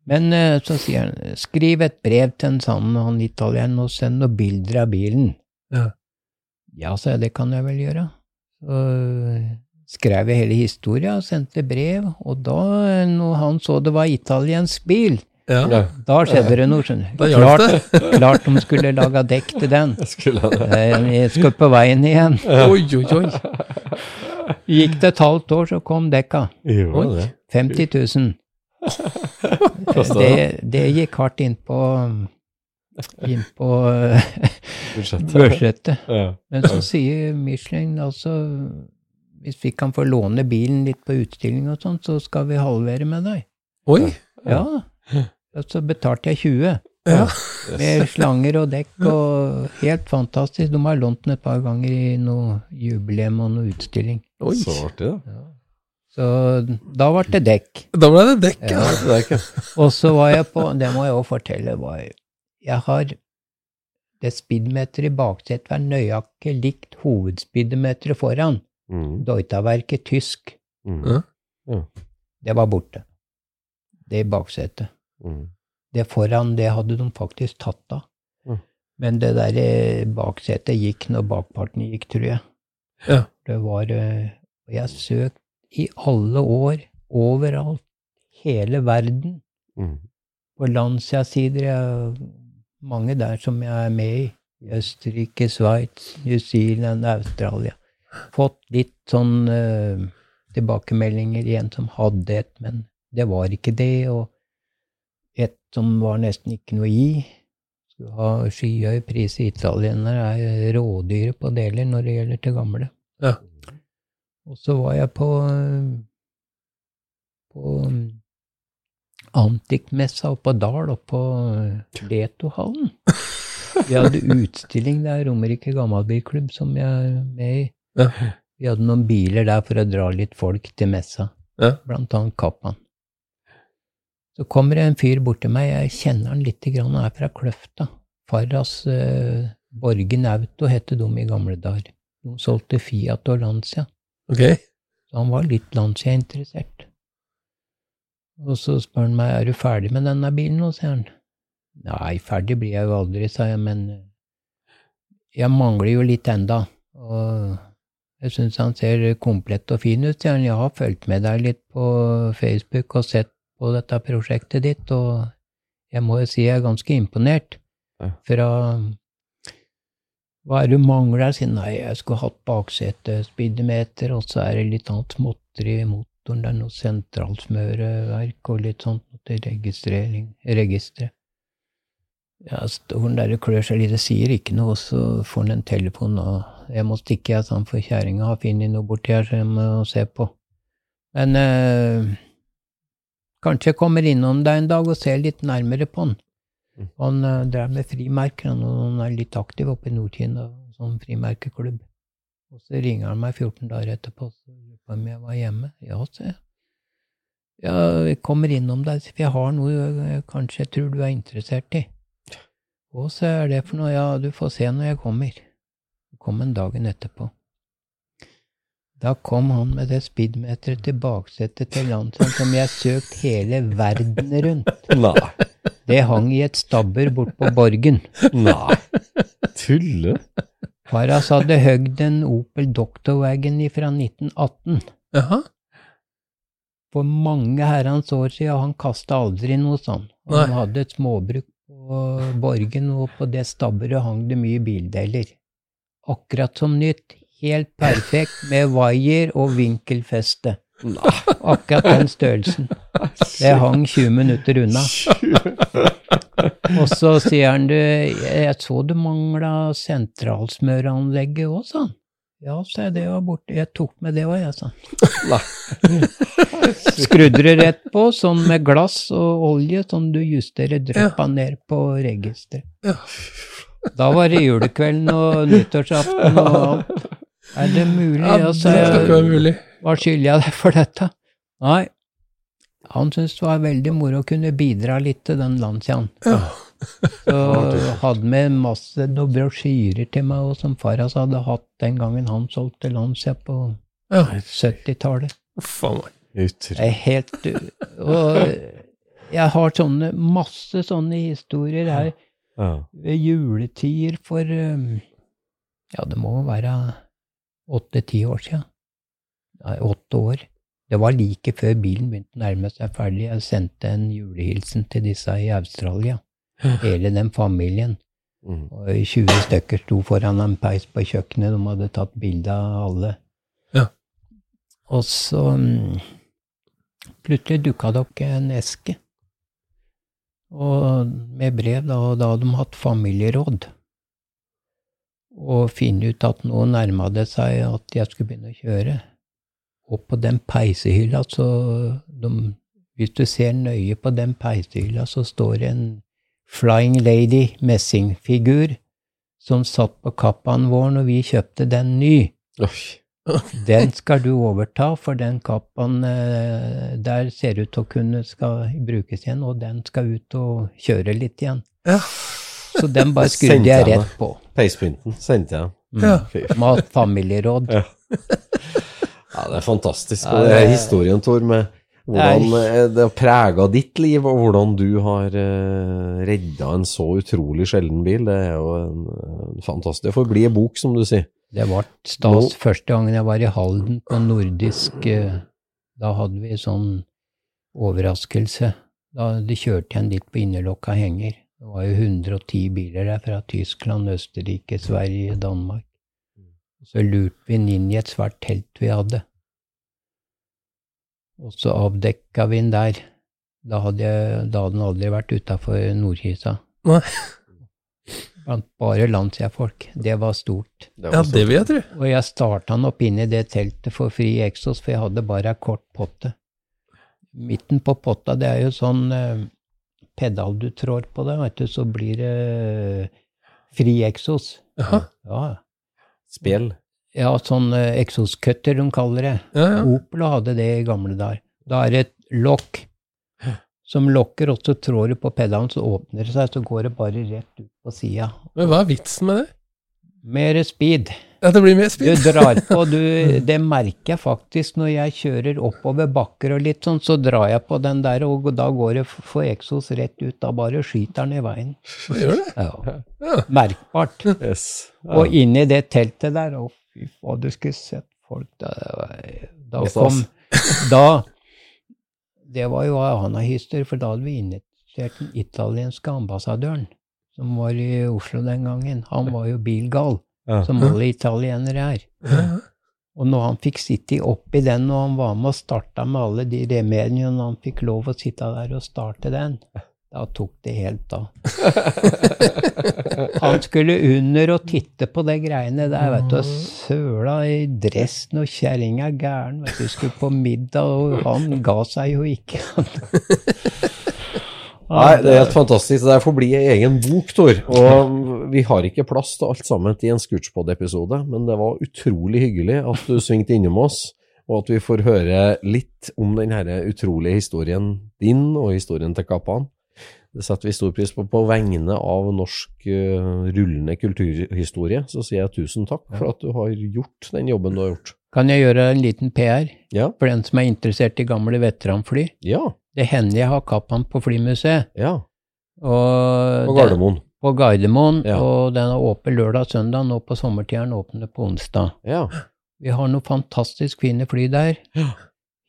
E: Men eh, så sier han, skriv et brev til en sånn han italien og send noen bilder av bilen.
B: Ja.
E: Ja, sa jeg, det kan jeg vel gjøre. Så eh, skrev jeg hele historien og sendte brev, og da, eh, når han så det var italiensk bil,
B: Ja.
C: Ja.
E: da skjedde det noe, skjønner du.
B: Da hjalp
E: Klart, klart de skulle lage dekk til den.
C: Jeg skulle det.
E: Eh, Jeg skal på veien igjen.
B: Oi, oi, oi.
E: Gikk det et halvt år, så kom dekka.
C: Gjorde det.
E: 50 000.
C: Kostet
E: Det, det gikk hardt inn på, inn på eh,
C: Budsjettet.
E: budsjettet.
C: Ja.
E: Men så sier Michelin altså hvis vi kan få låne bilen litt på utstilling og sånn, så skal vi halvere med deg.
B: Oi.
E: Ja. Og så betalte jeg 20,
B: Ja.
E: med slanger og dekk og helt fantastisk. De har lånt den et par ganger i noe jubileum og noe utstilling.
B: Oi.
C: Så artig, da.
E: Så da ble det dekk.
B: Da ble det dekk, ja.
C: Ja, det er ikke
E: Og så var jeg på Det må jeg òg fortelle. Var, jeg har det speedometeret i baksetet var nøyaktig likt hovedspeedometeret foran.
C: Mm,
E: Deutaverket tysk.
C: mm,
B: Ja.
E: Det var borte. Det i baksetet.
C: mm.
E: Det foran, det hadde de faktisk tatt av.
C: Mm.
E: Men det der eh, baksetet gikk når bakparten gikk, tror jeg.
B: Ja.
E: Det var eh, og Jeg søkte i alle år, overalt, hele verden,
C: Mm.
E: på Lancia-sider. jeg- Mange der som jeg er med i. Østerrike, Sveits, New Zealand, Australia. Fått litt sånn eh, tilbakemeldinger igjen som hadde et, men det var ikke det. Og et som var nesten ikke noe i. Skulle ha skyhøy pris i italienere, er rådyre på deler når det gjelder til gamle.
B: Ja.
E: Og så var jeg på eh, på eh, antikmessa oppe på Dal, oppe på eh, Letohallen. Vi hadde utstilling der, Romerike Gammalbilklubb, som jeg er med i.
B: Ja.
E: Vi hadde noen biler der for å dra litt folk til messa,
B: Ja.
E: blant annet Kappan. Så kommer det en fyr bort til meg, jeg kjenner han lite grann, han er fra Kløfta. Farras eh, Borgen Auto het de i gamle dager. De solgte Fiat og Lancia.
B: Ok.
E: Så Så han var litt Lancia-interessert. Og så spør han meg er du ferdig med denne bilen nå, sier han. Nei, ferdig blir jeg jo aldri, sa jeg, men eh, jeg mangler jo litt enda. Og jeg syns han ser komplett og fin ut, sier han. Jeg har fulgt med deg litt på Facebook og sett på dette prosjektet ditt, og jeg må jo si jeg er ganske imponert.
C: Ja.
E: Fra Hva er det du mangler? Jeg sier nei, jeg skulle hatt baksete speedometer, og så er det litt annet småtteri i motoren. Det er noe sentralsmøreverk og litt sånt til registrering, registeret. Ja, stolen der og klør seg litt, det sier ikke noe, og så får han en telefon, og jeg må stikke, jeg, sa han, for kjerringa har funnet noe borti her som jeg må se på. Men eh, kanskje jeg kommer innom deg en dag og ser litt nærmere på han. Han eh, drev med frimerker, han, og han er litt aktiv oppe i Nord-Kina som frimerkeklubb. Og så ringer han meg 14 dager etterpå så lurer på om jeg var hjemme. Ja, sa jeg. Ja, jeg kommer innom deg, for jeg har noe jeg kanskje jeg tror du er interessert i. Hva så er det for noe? Ja, du får se når jeg kommer. Så kom han dagen etterpå. Da kom han med det speedometeret til baksetet til Lancia som jeg søkt hele verden rundt.
C: Nei.
E: Det hang i et stabbur bort på Borgen.
C: Nei. Tulle?
E: Faras hadde høgd en Opel Doctorwagen fra 1918.
B: Jaha.
E: For mange herrens år siden, han kasta aldri noe sånn. Og Han
B: Nei.
E: hadde et småbruk på Borgen, og på det stabburet hang det mye bildeler. Akkurat som nytt, helt perfekt med vaier og vinkelfeste.
C: Nei.
E: Akkurat den størrelsen. Det hang 20 minutter unna. Og så sier han du, jeg så du mangla sentralsmøreanlegget òg, sa han. Ja, sa jeg, det var borte. Jeg tok med det òg, jeg, sa han. Skrudde det rett på, sånn med glass og olje, sånn du justerer dryppa ned på registeret. Da var det julekvelden og nyttårsaften og alt. Er det mulig?
B: Ja,
E: Ja,
B: det
E: sa
B: skal
E: jeg.
B: ikke være mulig.
E: Hva skylder jeg deg for dette? Nei, han syntes det var veldig moro å kunne bidra litt til den Lanciaen.
B: Ja.
E: Så hadde med masse noen brosjyrer til meg, og som Faras hadde hatt den gangen han solgte Lancia på
B: Ja.
E: 70-tallet.
B: Faen meg.
C: Utrolig.
E: Det er helt Og jeg har sånne, masse sånne historier her
C: Ja.
E: ved juletider for um, Ja, det må være åtte-ti år siden. Nei, åtte år. Det var like før bilen begynte å nærme seg ferdig. Jeg sendte en julehilsen til disse i Australia. Hele den familien.
C: Mm.
E: Og 20 stykker sto foran en peis på kjøkkenet. De hadde tatt bilde av alle.
B: Ja.
E: Og så mm, plutselig dukka det opp en eske og med brev, da, og da hadde de hatt familieråd. Og finne ut at nå nærma det seg at jeg skulle begynne å kjøre. Og på den peisehylla, så de, Hvis du ser nøye på den peisehylla, så står det en Flying Lady messingfigur som satt på kappaen vår når vi kjøpte den ny.
C: Oi.
E: Den skal du overta, for den kappaen eh, der ser ut til å kunne skal brukes igjen, og den skal ut og kjøre litt igjen.
B: Ja.
E: Så den bare
C: Det
E: skrudde
C: sendte
E: jeg
C: jeg meg.
E: rett på.
C: Peispynten sendte jeg. Mm.
B: Ja.
C: Fy
E: Mat familieråd.
C: Ja. Ja, det er fantastisk.
E: Ja,
C: Og det
E: det-
C: er historien, Tor, med hvordan
E: Nei.
C: eh, det har prega ditt liv, og hvordan du har uh, redda en så utrolig sjelden bil. Det er jo en, en fantastisk Det får bli en bok, som du sier.
E: Det var
C: Nå-
E: stas første gangen jeg var i Halden på nordisk eh, Da hadde vi sånn overraskelse. Da de kjørte igjen dit på innerlokka henger. Det var jo 110 biler der fra Tyskland, Østerrike, Sverige, Danmark. Og så lurte vi den inn i et svært telt vi hadde. Og så avdekka vi den der. Da hadde, jeg, da hadde den aldri vært utafor Nordkisa.
B: Nei.
E: Blant bare Lancia-folk. Det var stort.
B: ja, det vil jeg tro.
E: Og jeg starta han opp inn i det teltet for fri eksos, for jeg hadde bare ei kort potte. Midten på potta, det er jo sånn eh, pedal du trår på det, vet du, så blir det eh, fri eksos.
B: Jaha.
E: Ja,
C: Spjell.
E: ja sånn eh, eksoskutter de kaller det.
B: Ja, ja.
E: Opel hadde det i gamle dager. Da er det et lokk som lokker, og så trår du på pedalen, så åpner det seg, så går det bare rett ut på sida.
B: Men hva er vitsen med det?
E: Mere speed.
B: Dette blir mye
E: Du
B: sprit.
E: drar på, du, det merker jeg faktisk når jeg kjører oppover bakker og litt sånn, så drar jeg på den der, og da går det for eksos rett ut. Da bare skyter den i veien.
B: Det gjør det.
E: Ja. Merkbart.
C: Yes.
E: Og inni det teltet der, å fy faen, du skulle sett folk da, da
C: Hva
E: kom
C: stas?
E: Da Det var jo anahyster, for da hadde vi invitert den italienske ambassadøren, som var i Oslo den gangen. Han var jo bilgal,
C: Ja.
E: som alle italienere er.
B: Ja.
E: Og når han fikk sitte oppi den, og han var med og starta med alle de remediene, og han fikk lov å sitte der og starte den, da tok det helt av. Han skulle under og titte på de greiene der, vet du, og
C: Mm.
E: søla i dressen, og kjerringa er gæren, vet du, skulle på middag, og han ga seg jo ikke.
C: Nei, det er helt fantastisk. Det der får bli en egen bok, Tor. Og vi har ikke plass til alt sammen i en Scootspod-episode, men det var utrolig hyggelig at du svingte innom oss, og at vi får høre litt om den her utrolige historien din og historien til Kappan. Det setter vi stor pris på. På vegne av norsk eh, rullende kulturhistorie så sier jeg tusen takk for at du har gjort den jobben du har gjort.
E: Kan jeg gjøre en liten PR
C: Ja,
E: for den som er interessert i gamle veteranfly?
C: ja,
E: Det hender jeg har Kappan på flymuseet.
C: ja.
E: Og
C: På
E: den-
C: Gardermoen.
E: på Gardermoen,
C: Ja.
E: og den er åpen lørdag og søndag. Nå på sommertida er den åpen på onsdag.
C: Ja.
E: Vi har noen fantastisk fine fly der.
C: Ja.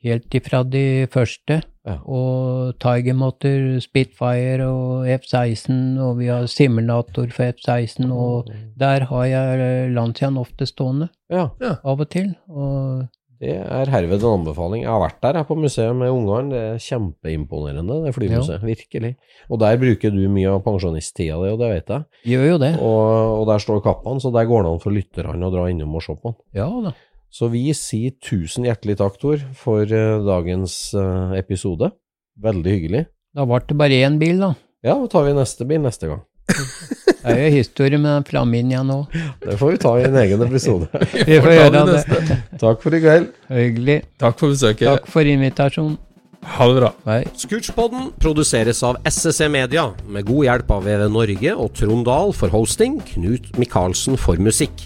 E: Helt ifra de første.
C: Ja.
E: Og Tigermotor, Spitfire og F-16, og vi har simulator for
C: Mm.
E: F-16. Og der har jeg Lancian ofte stående,
C: ja.
E: av og til. Og
C: Det er herved en anbefaling. Jeg har vært der jeg, på museet med ungene. Det er kjempeimponerende, det flymuseet. Virkelig. Og der bruker du mye av pensjonisttida di, og det vet jeg.
E: gjør jo det.
C: Og, og der står kappaen, så der går det an for lytterne å dra innom og se på den.
E: Ja da.
C: Så vi sier tusen hjertelig takk, Tor, for eh, dagens eh, episode. Veldig hyggelig.
E: Da ble det bare én bil, da.
C: Ja, da tar vi neste bil neste gang.
E: Det er jo historie med den Flaminia nå.
C: Det får vi ta i en egen episode.
E: Vi får
B: ta det
E: gjøre det.
C: Takk for i kveld.
E: Hyggelig.
B: Takk for besøket.
E: Takk for invitasjonen.
B: Ha det bra.
E: Hei.
C: Scootspodden produseres av SSC Media, med god hjelp av VV Norge og Trond Dahl for hosting, Knut Micaelsen for musikk.